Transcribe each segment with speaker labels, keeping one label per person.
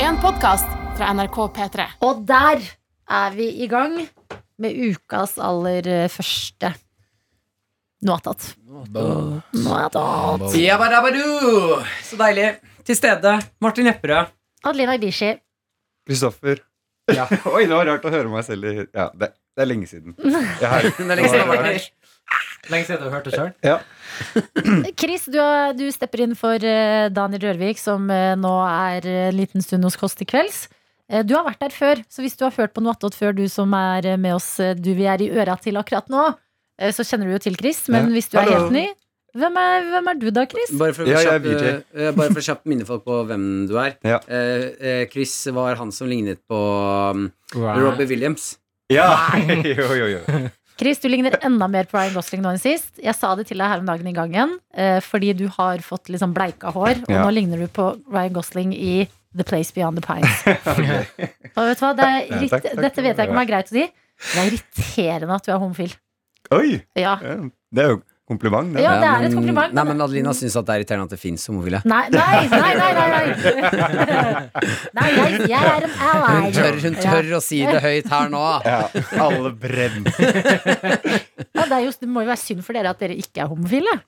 Speaker 1: en podkast fra NRK P3.
Speaker 2: Og der er vi i gang med ukas aller eh, første Noatat. Noatat.
Speaker 3: Jabadabadu! Så deilig. Til stede Martin Lepperød.
Speaker 2: Adelina Ibishi.
Speaker 4: Kristoffer.
Speaker 3: Ja.
Speaker 4: Oi, det var rart å høre meg selv i Ja, det, det er lenge siden. Jeg er her.
Speaker 3: Det er lenge siden jeg har vært her.
Speaker 5: Lenge siden du hørte sjøl.
Speaker 2: Chris, du, er- du stepper inn for eh, Daniel Rørvik, som eh, nå er eh, en liten stund hos Kåss til kvelds. Eh, Du har vært der før, så hvis du har hørt på Noatot før, du som er eh, med oss, eh, du vi er i øra til akkurat nå, eh, så kjenner du jo til Chris. Men
Speaker 4: Ja.
Speaker 2: hvis du er
Speaker 4: Hallo.
Speaker 2: helt ny, hvem er, hvem er du da, Chris?
Speaker 6: Bare for å
Speaker 4: Ja, jeg er
Speaker 6: kjapt, eh, bare for å kjapt minne folk på hvem du er.
Speaker 4: Ja.
Speaker 6: Eh, eh, Chris var han som lignet på um, Robbie Williams.
Speaker 4: Ja! Jo, jo, jo.
Speaker 2: Chris, du ligner enda mer på Ryan Gosling nå enn sist. Jeg sa det til deg her om dagen i gangen, eh, fordi du har fått litt sånn bleika hår, og
Speaker 4: Ja.
Speaker 2: nå ligner du på Ryan Gosling i The Place Beyond the Pines. og vet du hva, det er
Speaker 4: Ja,
Speaker 2: irrit-
Speaker 4: takk, takk.
Speaker 2: Dette vet jeg ikke om er greit å si. Det er irriterende at du er homofil.
Speaker 4: Oi!
Speaker 2: Ja.
Speaker 4: ja, Det er jo kompliment, det.
Speaker 2: Ja. det er
Speaker 6: men-
Speaker 2: et kompliment,
Speaker 6: Mm. Nei,
Speaker 2: men-
Speaker 6: men Adelina syns at det er irriterende at det fins homofile.
Speaker 2: Nei, nei, nei, nei! Nei, nei. nei jeg, jeg er en ally.
Speaker 6: Hun tør, hun tør å si det høyt her nå.
Speaker 4: Ja, alle brenner.
Speaker 2: Ja, det, er jo, det må jo være synd for dere at dere ikke er homofile.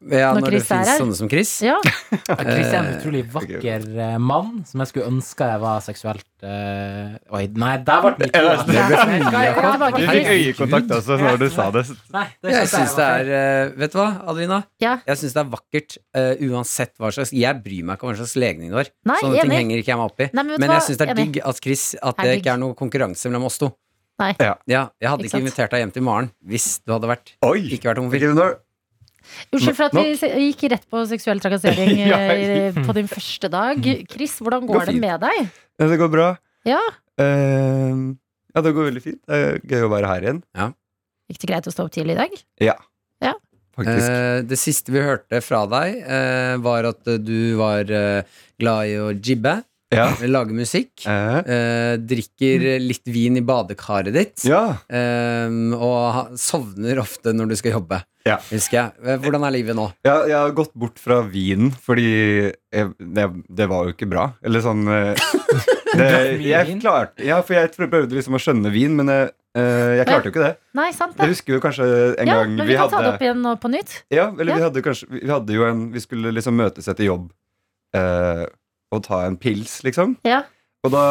Speaker 6: Ja,
Speaker 2: Når
Speaker 6: når det
Speaker 2: Chris er
Speaker 6: fins
Speaker 2: her.
Speaker 6: sånne som Chris.
Speaker 2: Ja.
Speaker 4: eh,
Speaker 5: Chris er en utrolig vakker eh, mann som jeg skulle ønske jeg var seksuelt eh, Oi, nei, der ble mitt ord.
Speaker 4: Det ble for mye.
Speaker 2: Ja, tilbake,
Speaker 4: Du
Speaker 2: Chris.
Speaker 4: fikk øyekontakt også når du sa det.
Speaker 5: Nei, det
Speaker 6: Jeg
Speaker 5: skjønte
Speaker 6: syns det er eh, Vet du hva, Adelina?
Speaker 2: Ja.
Speaker 6: Jeg syns det er vakkert eh, uansett hva slags Jeg bryr meg ikke om hva slags legning du har.
Speaker 2: Nei,
Speaker 6: Sånne ting
Speaker 2: enig.
Speaker 6: henger ikke jeg meg opp i.
Speaker 2: Nei, men vet du
Speaker 6: Men jeg
Speaker 2: hva?
Speaker 6: syns det er
Speaker 2: Enig.
Speaker 6: digg at Chris At
Speaker 2: Er
Speaker 6: det
Speaker 2: digg.
Speaker 6: ikke er noe konkurranse mellom oss to.
Speaker 2: Nei.
Speaker 4: Ja.
Speaker 6: Ja, jeg
Speaker 2: Ikke
Speaker 6: hadde ikke,
Speaker 2: sant?
Speaker 6: invitert deg hjem til Maren hvis du hadde vært
Speaker 4: Oi!
Speaker 6: ikke vært homofil.
Speaker 4: Ikke noe-
Speaker 2: Unnskyld for at vi se- gikk rett på seksuell trakassering
Speaker 4: Ja.
Speaker 2: eh, på din første dag. Chris, hvordan går
Speaker 4: Går
Speaker 2: det
Speaker 4: fint.
Speaker 2: med deg?
Speaker 4: Ja, det går bra.
Speaker 2: Ja.
Speaker 4: Eh, ja, det går veldig fint. Det er gøy å være her igjen,
Speaker 2: Gikk det greit å stå opp tidlig i dag?
Speaker 4: faktisk.
Speaker 6: Eh, det siste vi hørte fra deg, eh, var at eh, du var eh, glad i å jibbe,
Speaker 4: ja.
Speaker 6: lage musikk,
Speaker 4: Eh,
Speaker 6: eh, drikker eh, litt vin i badekaret ditt,
Speaker 4: Mm. ja.
Speaker 6: eh, og ha, sovner ofte når du skal jobbe.
Speaker 4: Ja.
Speaker 6: Husker jeg. Eh, Hvordan er livet nå?
Speaker 4: Jeg, jeg har gått bort fra vinen fordi jeg, det, det var jo ikke bra. Eller sånn eh, det,
Speaker 5: mye
Speaker 4: Jeg
Speaker 5: vin?
Speaker 4: klarte Ja, for jeg prøvde liksom å skjønne vin, men jeg, eh, jeg klarte jo ikke det.
Speaker 2: Nei, sant
Speaker 4: Jeg
Speaker 2: det?
Speaker 4: husker jo kanskje en
Speaker 2: Ja,
Speaker 4: gang
Speaker 2: men vi kan ta det
Speaker 4: hadde
Speaker 2: opp igjen nå på nytt.
Speaker 4: Ja, eller vi
Speaker 2: Ja.
Speaker 4: hadde kanskje Vi hadde jo en Vi skulle liksom møtes etter jobb eh, og ta en pils, liksom.
Speaker 2: Ja.
Speaker 4: Og da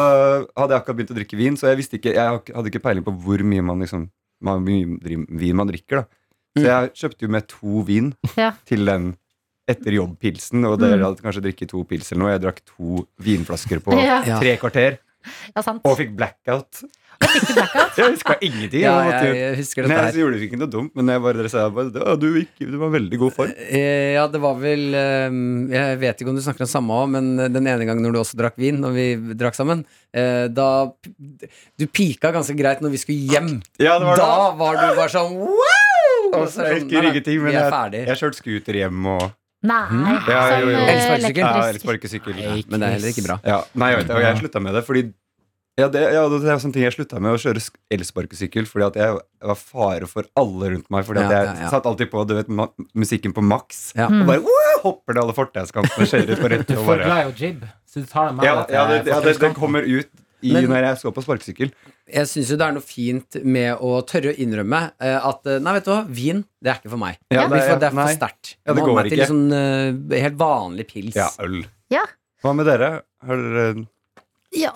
Speaker 4: hadde jeg akkurat begynt å drikke vin, så jeg visste ikke Jeg har ikke- hadde ikke peiling på hvor mye man liksom hvor mye dri- vin man drikker, da.
Speaker 6: Mm.
Speaker 4: Så jeg kjøpte jo med to vin
Speaker 2: Ja.
Speaker 4: til den etter jobb-pilsen, og dere hadde kanskje drikket to pils eller noe. Jeg drakk to vinflasker på
Speaker 2: Ja,
Speaker 6: Ja.
Speaker 4: tre kvarter,
Speaker 2: ja sant.
Speaker 4: og fikk blackout. Jeg huska ingenting.
Speaker 6: Ja,
Speaker 4: jeg måtte jo-
Speaker 6: jeg, jeg husker
Speaker 4: Nei,
Speaker 6: dette
Speaker 4: jeg
Speaker 6: her.
Speaker 4: gjorde ikke noe dumt, men jeg bare, dere sa bare ja, du, gikk, du var i veldig god form.
Speaker 6: Eh, Ja, det var vel eh, Jeg vet ikke om du snakker om samme òg, men eh, den ene gangen når du også drakk vin, når vi drakk sammen, eh, da p- Du pika ganske greit når vi skulle hjem.
Speaker 4: Ja, det var det.
Speaker 6: da var du bare sånn wow! sånn,
Speaker 4: Og så jeg husker
Speaker 6: nei, nei,
Speaker 4: ingenting, men
Speaker 6: vi er
Speaker 4: jeg,
Speaker 6: ferdig.
Speaker 4: jeg kjørte scooter hjem og
Speaker 2: Nei,
Speaker 4: Mhm. Ja, jo, jo.
Speaker 2: sånn eh,
Speaker 6: Elsparkesykkel.
Speaker 4: ja, eller
Speaker 2: elektrisk.
Speaker 4: sparkesykkel.
Speaker 5: Nei.
Speaker 6: Men det er heller ikke bra.
Speaker 4: Ja, nei, jeg vet det, og jeg slutta med det fordi ja, det, ja, det er sånne ting jeg slutta med å kjøre sk- elsparkesykkel fordi at jeg var fare for alle rundt meg. Fordi at
Speaker 6: Ja,
Speaker 4: jeg
Speaker 6: ja, ja.
Speaker 4: satt alltid på du vet, ma musikken på maks.
Speaker 6: Ja.
Speaker 4: Og
Speaker 2: Mm.
Speaker 4: bare «Wow!» hopper ned alle fortauskantene og kjører ut på rett.
Speaker 5: Du er
Speaker 4: Og
Speaker 5: for
Speaker 4: bare,
Speaker 5: glad i å jibbe, så du tar det med
Speaker 4: ja,
Speaker 5: deg til
Speaker 4: ja, det, ja, det, det
Speaker 5: fortauskanten.
Speaker 4: kommer ut i,
Speaker 6: Men-
Speaker 4: når jeg skal på sparkesykkel.
Speaker 6: Jeg syns jo det er noe fint med å tørre å innrømme eh, at eh, nei, vet du hva, vin, det er ikke for meg.
Speaker 4: Ja,
Speaker 6: det, er, det er for
Speaker 4: nei.
Speaker 6: sterkt.
Speaker 4: Ja, det
Speaker 6: Må ha
Speaker 4: går
Speaker 6: meg til
Speaker 4: ikke.
Speaker 6: litt sånn eh, helt vanlig pils.
Speaker 4: Ja, øl.
Speaker 2: Ja.
Speaker 4: Hva med dere? Har dere
Speaker 2: Ja.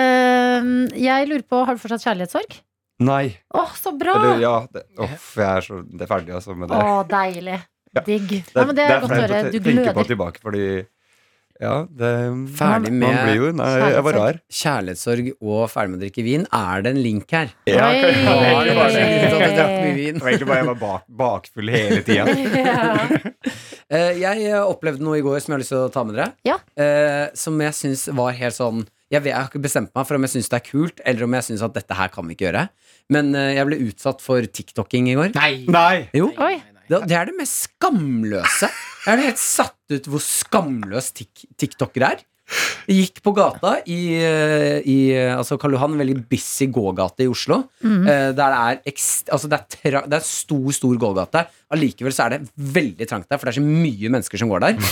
Speaker 2: Ehm, jeg lurer på, har du fortsatt kjærlighetssorg?
Speaker 4: Nei.
Speaker 2: Å, så bra!
Speaker 4: Eller ja det, Uff, jeg er så det er ferdig altså, med det.
Speaker 2: Å, deilig.
Speaker 4: Ja.
Speaker 2: Digg. Nei, men det er godt å
Speaker 4: flaut
Speaker 2: høre.
Speaker 4: te-
Speaker 2: Du
Speaker 4: tenke på
Speaker 2: gløder.
Speaker 4: tilbake, fordi ja, det,
Speaker 6: Ferdig
Speaker 4: Man blir
Speaker 6: med
Speaker 4: jo Nei, jeg var rar.
Speaker 6: kjærlighetssorg og ferdig med å drikke vin. Er det en link her?
Speaker 4: Ja,
Speaker 2: Oi.
Speaker 4: kanskje-
Speaker 6: Var
Speaker 4: egentlig
Speaker 6: det
Speaker 4: bare-
Speaker 6: bare litt at du drakk mye vin?
Speaker 4: Det var egentlig bare jeg var bak, bakfull hele tida.
Speaker 2: Ja.
Speaker 6: Eh, Jeg eh, opplevde noe i går som jeg har lyst til å ta med dere.
Speaker 2: Ja.
Speaker 6: Eh, Som jeg syns var helt sånn jeg, vet, jeg har ikke bestemt meg for om jeg syns det er kult, eller om jeg syns at dette her kan vi ikke gjøre. Men eh, jeg ble utsatt for tiktoking i går.
Speaker 5: Nei!
Speaker 4: Nei!
Speaker 6: Jo,
Speaker 2: Oi.
Speaker 6: det, det er det mest skamløse. Jeg er helt satt ut hvor skamløs tik tiktokere er. Jeg gikk på gata i, eh, i eh, altså Karl Johan, en veldig busy gågate i Oslo. eh, Der det er, ekst, altså det, er tra, det er stor, stor gågate. Allikevel så er det veldig trangt der, for det er så mye mennesker som går der.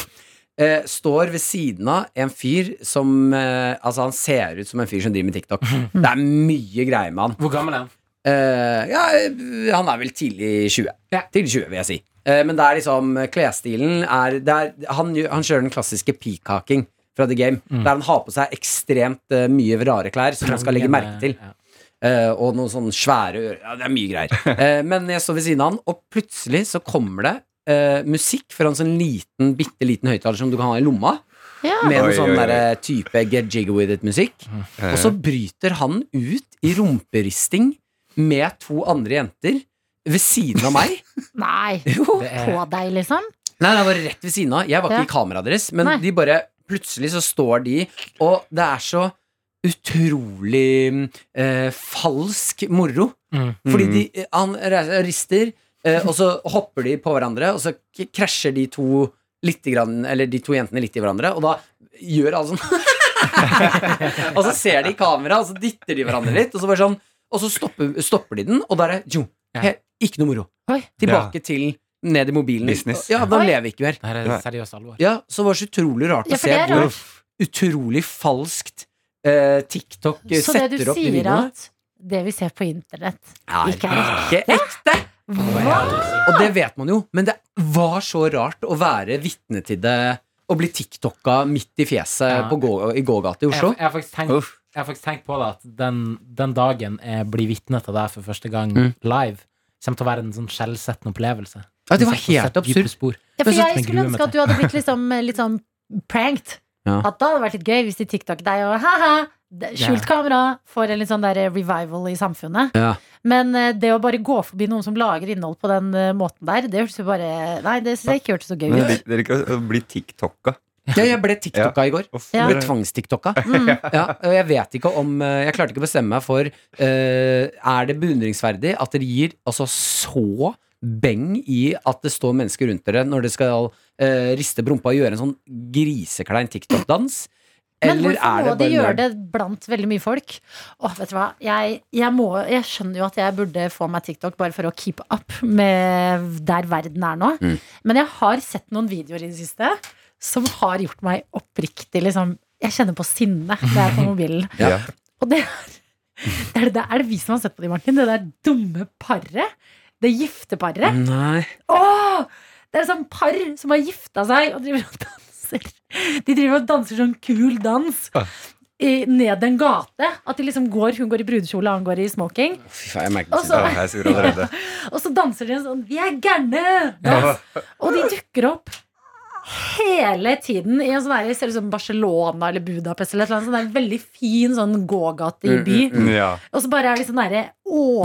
Speaker 6: eh, står ved siden av en fyr som eh, Altså, han ser ut som en fyr som driver med TikTok. Det er mye greier med han.
Speaker 5: Hvor gammel er han?
Speaker 6: Eh, ja, han er vel tidlig 20.
Speaker 5: Ja.
Speaker 6: Tidlig 20, vil jeg si. Eh, men det er liksom klesstilen er, det er han, gjør- han kjører den klassiske peacocking fra The Game.
Speaker 5: Mm.
Speaker 6: Der han har på seg ekstremt eh, mye rare klær som man skal legge merke til.
Speaker 5: Ja.
Speaker 6: Eh, og noen sånne svære ører. Ja, det er mye greier. Eh, men jeg står ved siden av han, og plutselig så kommer det eh, musikk fra en sånn liten, bitte liten høyttaler som du kan ha i lomma.
Speaker 2: Ja.
Speaker 6: Med
Speaker 5: Ah.
Speaker 4: Oi,
Speaker 6: noe sånn
Speaker 4: oi, oi.
Speaker 6: derre type get jiggy with it-musikk.
Speaker 4: Eh,
Speaker 6: Og så bryter han ut i rumperisting med to andre jenter ved siden av meg.
Speaker 2: Nei,
Speaker 6: Jo.
Speaker 5: Det er,
Speaker 2: på deg, liksom.
Speaker 6: Nei, det var rett ved siden av. Jeg var ikke
Speaker 2: Ja.
Speaker 6: i kameraet deres, men
Speaker 2: Nei.
Speaker 6: de bare Plutselig så står de, og det er så utrolig eh, falsk moro.
Speaker 5: Mm.
Speaker 6: Fordi de, han reiser- rister, eh, og så hopper de på hverandre, og så k- krasjer de to litt grann, eller de to jentene litt i hverandre, og da gjør alle sånn Og så ser de i kamera, og så dytter de hverandre litt, og så bare sånn Og så stopper, stopper de den, og da er det jo,
Speaker 5: Ja.
Speaker 6: he- ikke noe moro.
Speaker 2: Oi.
Speaker 6: Tilbake til ned i mobilen.
Speaker 4: Business.
Speaker 6: Ja, da
Speaker 2: Oi.
Speaker 6: lever vi ikke mer.
Speaker 5: det her
Speaker 4: Nei.
Speaker 5: er seriøst alvor.
Speaker 6: Ja, så var det så utrolig rart
Speaker 2: Ja,
Speaker 6: å
Speaker 2: for
Speaker 6: se
Speaker 2: det er
Speaker 6: hvor
Speaker 2: rart.
Speaker 6: utrolig falskt eh, TikTok
Speaker 2: Så det du
Speaker 6: setter opp de
Speaker 2: sier
Speaker 6: videoene.
Speaker 2: at det vi ser på internett,
Speaker 6: Er
Speaker 2: ikke er
Speaker 6: ikke ekte!
Speaker 2: Hva?
Speaker 6: Og det vet man jo, men det var så rart å være vitne til det. Å bli TikToka midt i fjeset
Speaker 5: Ja.
Speaker 6: på gå, i gågata i
Speaker 5: Jeg,
Speaker 6: Oslo.
Speaker 5: jeg, har faktisk tenkt,
Speaker 6: Uff.
Speaker 5: jeg har faktisk tenkt på det at den, den dagen jeg blir vitne til det for første gang
Speaker 6: Mm.
Speaker 5: live, kommer til å være en sånn skjellsettende opplevelse.
Speaker 6: Ja, det var
Speaker 5: Som setter
Speaker 6: helt
Speaker 5: dype
Speaker 6: absurd.
Speaker 5: spor.
Speaker 2: Ja, for
Speaker 5: Men så-
Speaker 2: jeg
Speaker 5: Men
Speaker 2: skulle
Speaker 5: gruer meg
Speaker 2: ønske at du hadde blitt liksom, litt sånn pranked.
Speaker 6: Ja.
Speaker 2: At da hadde det vært litt gøy hvis de TikTok deg og ha-ha, det- skjult kamera, får en litt sånn der revival i samfunnet.
Speaker 6: Ja.
Speaker 2: Men eh, det å bare gå forbi noen som lager innhold på den eh, måten der, det hørtes jo bare Nei, det syns jeg ikke hørtes så gøy
Speaker 4: Men det
Speaker 2: ut.
Speaker 4: liker- det liker å bli TikToka.
Speaker 6: Ja, jeg ble TikToka i går.
Speaker 4: Uff,
Speaker 2: Ja.
Speaker 6: Jeg ble
Speaker 4: dere-
Speaker 6: tvangs-TikToka.
Speaker 2: Mm.
Speaker 6: Ja, og jeg vet ikke om eh, Jeg klarte ikke å bestemme meg for eh, Er det beundringsverdig at dere gir altså så beng i at det står mennesker rundt dere når dere skal eh, riste brumpa og gjøre en sånn griseklein TikTok-dans?
Speaker 2: Men hvorfor må de gjøre
Speaker 6: nerd?
Speaker 2: det blant veldig mye folk? Åh, vet du hva? Jeg, jeg, må, jeg skjønner jo at jeg burde få meg TikTok bare for å keep up med der verden er nå.
Speaker 6: Mm.
Speaker 2: Men jeg har sett noen videoer i det siste som har gjort meg oppriktig liksom Jeg kjenner på sinne når jeg er på mobilen.
Speaker 4: Ja.
Speaker 2: Og det er det, er det, er det vi som har sett på det, Martin. Det der dumme paret. Det gifteparet.
Speaker 6: Nei.
Speaker 2: Åh! Det er sånn par som har gifta seg og driver og danser. De driver og danser sånn kul dans i, ned en gate. At de liksom går, hun går i brudekjole, han går i smoking.
Speaker 6: Fy faen, jeg merker
Speaker 2: Og
Speaker 6: det.
Speaker 2: så,
Speaker 4: Ja, jeg suger allerede.
Speaker 2: og så danser de en sånn 'vi er gærne'! dans. Og de dukker opp hele tiden i en sånn der, ser ut som Barcelona eller Budapest eller et eller annet. Sånn der, veldig fin sånn gågate i by.
Speaker 4: Mm, Ja.
Speaker 2: Og så bare er de sånn derre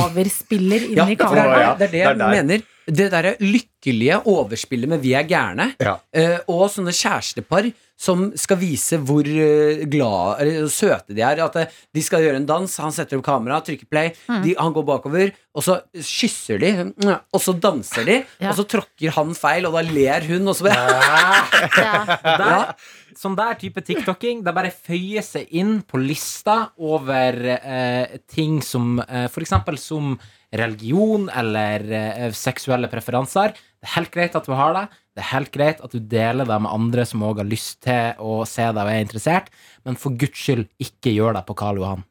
Speaker 2: overspiller inn
Speaker 6: Ja,
Speaker 2: i
Speaker 6: for det,
Speaker 2: kameraet.
Speaker 4: Å, ja.
Speaker 6: er, det er det jeg
Speaker 4: Det er der.
Speaker 6: mener. Det derre lykkelige overspillet med 'vi er gærne',
Speaker 4: Ja.
Speaker 6: eh, og sånne kjærestepar som skal vise hvor eh, glad, eller søte de er. At eh, de skal gjøre en dans, han setter opp kamera, trykker play,
Speaker 2: Mm.
Speaker 6: de, han går bakover, og så kysser de, mm, og så danser de,
Speaker 2: Ja.
Speaker 6: og så tråkker han feil, og da ler hun, og så bare
Speaker 2: Ja.
Speaker 5: Der, sånn der type TikToking, det bare føyer seg inn på lista over eh, ting som eh, for eksempel som religion eller eh, seksuelle preferanser. Det er helt greit at du har det. Det er helt greit at du deler det med andre som òg har lyst til å se deg og er interessert, men for guds skyld, ikke gjør det på Karl Johan.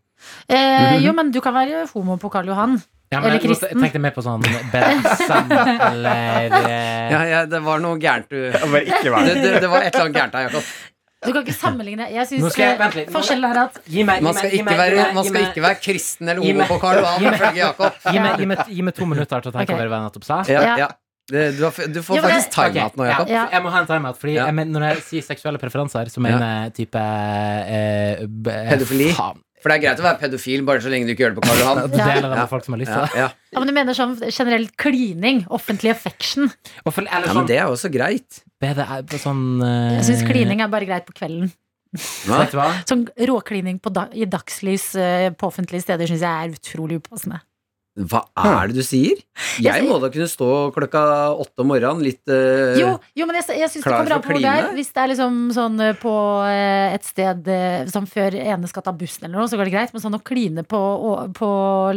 Speaker 2: Eh, jo, men du kan være homo på Karl Johan.
Speaker 5: Ja,
Speaker 2: Eller
Speaker 5: men jeg
Speaker 2: kristen.
Speaker 5: tenkte mer på sånn BDSM eller eh,
Speaker 6: ja, ja, det var noe gærent du
Speaker 4: Og Bare ikke vær
Speaker 6: det, det, det var et eller annet gærent her, Jakob.
Speaker 2: Du kan ikke sammenligne. Jeg
Speaker 5: Nå
Speaker 2: synes,
Speaker 5: skal jeg-
Speaker 2: eh,
Speaker 5: vent litt. Nå-
Speaker 2: Forskjellen er at
Speaker 5: Gi meg,
Speaker 6: Man
Speaker 5: gi
Speaker 6: skal
Speaker 5: meg, gi
Speaker 6: ikke
Speaker 5: meg, gi
Speaker 6: være,
Speaker 5: meg,
Speaker 6: man
Speaker 5: gi
Speaker 6: skal
Speaker 5: meg.
Speaker 6: ikke være kristen eller
Speaker 5: Gi
Speaker 6: homo
Speaker 5: meg-
Speaker 6: på Karl Johan,
Speaker 5: Gi meg-
Speaker 6: ifølge Jakob.
Speaker 5: Gi meg, gi meg, gi meg to minutter til å tenke
Speaker 2: Ok.
Speaker 5: over hva jeg nettopp sa.
Speaker 6: Ja,
Speaker 2: Ja.
Speaker 6: ja. Det, du, har, f- du får
Speaker 2: Ja, men
Speaker 6: faktisk
Speaker 5: Ok,
Speaker 6: timeout nå, Jakob.
Speaker 5: Ja, jeg må ha en timeout. Fordi
Speaker 6: Ja.
Speaker 5: jeg mener, når jeg sier seksuelle preferanser, så mener jeg type eh, b- eh,
Speaker 6: Pedofili.
Speaker 5: Faen.
Speaker 6: For det er greit å være pedofil bare så lenge du ikke gjør det på Karl Johan.
Speaker 5: Du deler det med
Speaker 6: Ja.
Speaker 5: folk som har lyst
Speaker 6: Ja,
Speaker 5: til det.
Speaker 6: ja.
Speaker 2: ja, men Du mener sånn generelt klining. Offentlig affection.
Speaker 5: Og for- Eller
Speaker 6: ja,
Speaker 5: sånn,
Speaker 6: men det er jo også greit.
Speaker 5: BDR på sånn eh,
Speaker 2: Jeg syns klining er bare greit på kvelden.
Speaker 6: Ja.
Speaker 5: Vet du hva?
Speaker 2: Sånn Råklining på da, i dagslys eh, på offentlige steder syns jeg er utrolig upassende.
Speaker 6: Hva er det du sier? Jeg må da kunne stå klokka åtte om morgenen litt eh,
Speaker 2: Jo, jo men jeg, jeg syns det
Speaker 6: klar
Speaker 2: kommer an
Speaker 6: for
Speaker 2: på hvor det er.
Speaker 6: kline?
Speaker 2: Hvis det er liksom sånn eh, på eh, et sted eh, som før ene skal ta bussen eller noe, så går det greit. Men sånn å kline på, å- på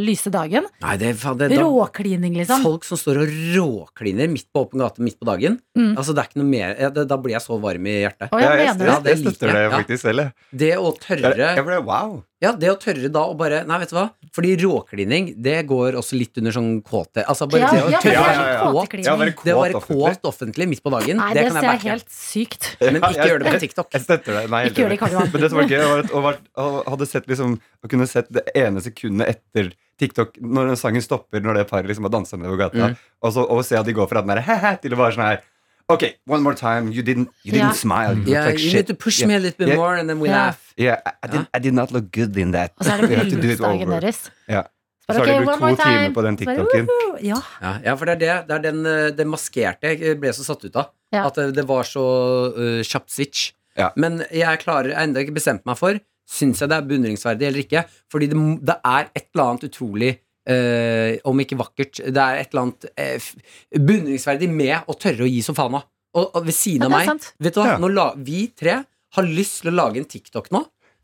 Speaker 2: lyse dagen.
Speaker 6: Nei, det, er faen, det, da,
Speaker 2: Råklining, liksom.
Speaker 6: Folk som står og råkliner midt på åpen gate midt på dagen.
Speaker 2: Mm.
Speaker 6: Altså, det er ikke noe mer eh, det, Da blir jeg så varm i hjertet.
Speaker 2: Å, jeg
Speaker 4: jeg,
Speaker 2: mener det.
Speaker 6: det liker
Speaker 4: støtter det
Speaker 6: jeg. Ja.
Speaker 4: faktisk selv. jeg.
Speaker 6: Det å
Speaker 4: Jeg,
Speaker 6: tørre
Speaker 4: jeg ble wow.
Speaker 6: Ja, det å tørre da å bare Nei, vet du hva? Fordi råklining, det går også litt under sånn kåte. Altså bare
Speaker 2: Ja,
Speaker 6: det å
Speaker 2: ja, for det er
Speaker 6: tørre
Speaker 4: ja, ja,
Speaker 2: sånn
Speaker 4: ja.
Speaker 2: kåteklining.
Speaker 4: Ja, bare
Speaker 6: Det å være
Speaker 4: kåt offentlig.
Speaker 6: kåt offentlig midt på dagen,
Speaker 2: Nei,
Speaker 6: det
Speaker 2: det
Speaker 6: kan
Speaker 2: ser
Speaker 6: jeg
Speaker 2: jeg
Speaker 6: backe.
Speaker 2: helt sykt.
Speaker 6: Men ikke gjør det på TikTok.
Speaker 4: Jeg støtter deg. Nei, helt
Speaker 2: Ikke gjør det i
Speaker 4: enig.
Speaker 2: Karl Johan.
Speaker 4: Men det som var gøy, var at å vært- å hadde sett liksom, å kunne sett det ene sekundet etter TikTok, når den sangen stopper, når det paret liksom har dansa nedover gata,
Speaker 6: Mm.
Speaker 4: og så og se at de går fra den derre hæ-hæ til å være sånn her Ok, one more time. You didn't, you
Speaker 2: Ja.
Speaker 4: didn't smile. You
Speaker 6: Yeah,
Speaker 4: look like
Speaker 6: you need
Speaker 4: shit.
Speaker 6: to push
Speaker 4: Yeah.
Speaker 6: me a little bit
Speaker 4: Yeah.
Speaker 6: more, and then we
Speaker 2: Ja.
Speaker 6: laugh.
Speaker 4: Yeah, I, I, did, I did not look good in that.
Speaker 2: Og så er det
Speaker 4: We have to do it
Speaker 2: bryllupsdagen
Speaker 4: over.
Speaker 2: deres.
Speaker 4: Ja.
Speaker 2: Så
Speaker 4: Så
Speaker 2: bare,
Speaker 4: har
Speaker 2: ok,
Speaker 4: de
Speaker 2: one
Speaker 4: brukt
Speaker 2: more
Speaker 4: to timer
Speaker 2: time.
Speaker 4: på den
Speaker 2: Så bare,
Speaker 4: TikToken.
Speaker 2: woohoo. Ja.
Speaker 6: Ja, ja, for det er det. Det er den, eh, det maskerte jeg ble så satt ut av.
Speaker 2: Ja.
Speaker 6: At eh, det var så eh, kjapt switch.
Speaker 4: Ja.
Speaker 6: Men jeg klarer jeg har ennå ikke bestemt meg for Syns jeg det er beundringsverdig eller ikke. Fordi det, m- det er et eller annet utrolig eh, Om ikke vakkert Det er et eller annet eh, f- beundringsverdig med å tørre å gi som faen av. Og, og ved
Speaker 2: Ja,
Speaker 6: siden av
Speaker 2: det er
Speaker 6: meg
Speaker 2: sant.
Speaker 6: Vet du hva?
Speaker 4: Ja.
Speaker 6: Nå la, vi tre har lyst til å lage en TikTok nå.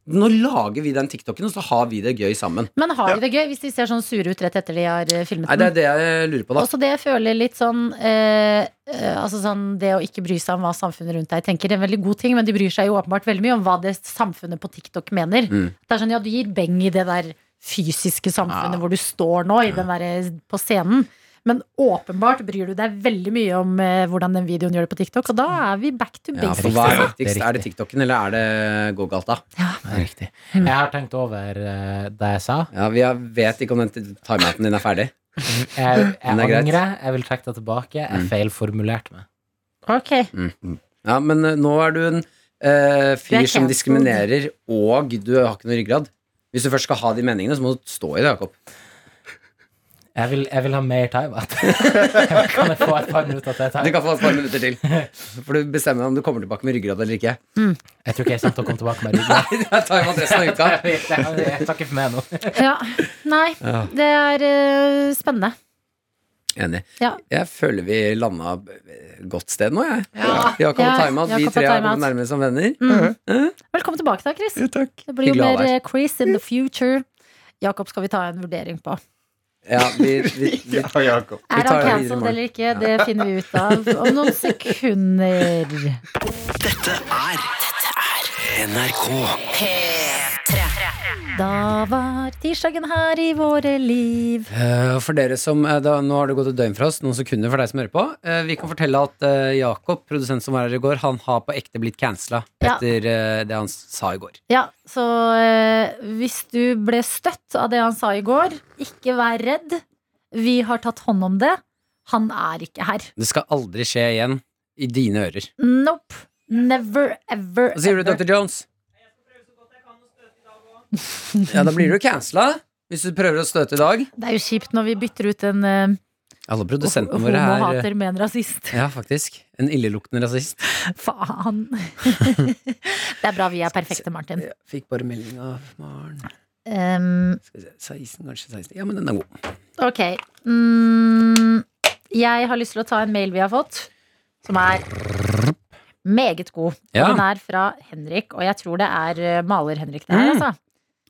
Speaker 6: Nå lager vi den TikToken, og så har vi det gøy sammen.
Speaker 2: Men har de det gøy hvis de ser sånn sure ut rett etter de har eh, filmet
Speaker 6: Nei,
Speaker 2: den?
Speaker 6: Det er det jeg lurer på, da.
Speaker 2: Også det jeg føler litt sånn, eh, eh, altså sånn Det å ikke bry seg om hva samfunnet rundt deg tenker, er en veldig god ting, men de bryr seg jo åpenbart veldig mye om hva det samfunnet på TikTok mener.
Speaker 6: Mm.
Speaker 2: Det er sånn, ja, Du gir beng i det der fysiske samfunnet
Speaker 6: Ja.
Speaker 2: hvor du står nå, i den der, eh, på scenen. Men åpenbart bryr du deg veldig mye om eh, hvordan den videoen gjør det på TikTok, og da er vi back to
Speaker 6: Ja,
Speaker 2: basics.
Speaker 6: for hva
Speaker 5: Ja,
Speaker 6: er
Speaker 5: det er
Speaker 6: viktigst? Er det
Speaker 5: riktig.
Speaker 6: TikToken, eller er det gågata?
Speaker 5: Riktig. Jeg har tenkt over eh, det jeg sa.
Speaker 6: Ja, vi er- vet ikke om den t- timeouten din er ferdig.
Speaker 5: Jeg, jeg
Speaker 6: Men det er greit.
Speaker 5: angrer. Jeg vil trekke det tilbake. Jeg
Speaker 6: Mm.
Speaker 5: feilformulerte meg.
Speaker 2: Ok,
Speaker 6: Ja, men eh, nå er du en eh,
Speaker 2: Du
Speaker 6: fyr
Speaker 2: er
Speaker 6: som
Speaker 2: cancelled.
Speaker 6: diskriminerer, og du har ikke noe ryggrad. Hvis du først skal ha de meningene, så må du stå i det, Jakob.
Speaker 5: Jeg vil, jeg vil ha mer time. kan jeg få et par minutter til?
Speaker 6: Du
Speaker 5: Time?
Speaker 6: kan få et par minutter til. For du bestemmer om du kommer tilbake med ryggrad eller ikke.
Speaker 5: Jeg tror ikke jeg kommer til å komme tilbake med ryggen.
Speaker 6: Det er timeout resten av uka.
Speaker 5: Jeg vet det. Jeg takker for meg nå.
Speaker 2: ja, Nei, det er eh, spennende.
Speaker 6: Enig.
Speaker 2: Ja.
Speaker 6: Jeg føler vi landa et godt sted nå, jeg. Jakob
Speaker 2: Ja,
Speaker 6: og timeout, vi
Speaker 2: Jakob og
Speaker 6: tre har
Speaker 2: timeout.
Speaker 6: kommet nærmere som venner.
Speaker 2: Mm. Velkommen tilbake da, Chris.
Speaker 4: Ja, takk.
Speaker 2: Det blir jo
Speaker 6: Mhm. Hyggelig å ha
Speaker 2: mer eh, quiz in the future. Jakob skal vi ta en vurdering på.
Speaker 6: Ja, vi, vi, vi,
Speaker 4: Ah, Ja, Jakob.
Speaker 2: Er han
Speaker 6: tar det videre i
Speaker 2: cancelled
Speaker 6: morgen.
Speaker 2: eller ikke? Det finner vi ut av om noen sekunder. Da var tirsdagen her i våre liv.
Speaker 6: Eh, For dere som, eh, da, Nå har det gått et døgn fra oss, noen sekunder for deg som hører på. Eh, Vi kan fortelle at eh, Jakob, produsent som var her i går, han har på ekte blitt cancela
Speaker 2: Ja.
Speaker 6: etter eh, det han sa i går.
Speaker 2: Ja, så eh, hvis du ble støtt av det han sa i går, ikke vær redd. Vi har tatt hånd om det. Han er ikke her.
Speaker 6: Det skal aldri skje igjen i dine ører.
Speaker 2: Nope. Never ever.
Speaker 6: Hva sier du,
Speaker 2: ever.
Speaker 6: Dr. Jones? Ja, da blir du cancela hvis du prøver å støte i dag.
Speaker 2: Det er jo kjipt når vi bytter ut en eh,
Speaker 6: Alle produsentene våre er eh,
Speaker 2: homohater med en rasist.
Speaker 6: ja, faktisk. En illeluktende rasist.
Speaker 2: Faen. Det er bra vi er perfekte, Martin.
Speaker 6: Jeg fikk bare melding av Maren.
Speaker 2: Um,
Speaker 6: Skal vi se, 16, kanskje 16. Ja, men den er god.
Speaker 2: Ok. Mm, jeg har lyst til å ta en mail vi har fått, som er meget god. Og
Speaker 6: Ja.
Speaker 2: Den er fra Henrik, og jeg tror det er eh, maler-Henrik det her,
Speaker 6: Mm.
Speaker 2: altså.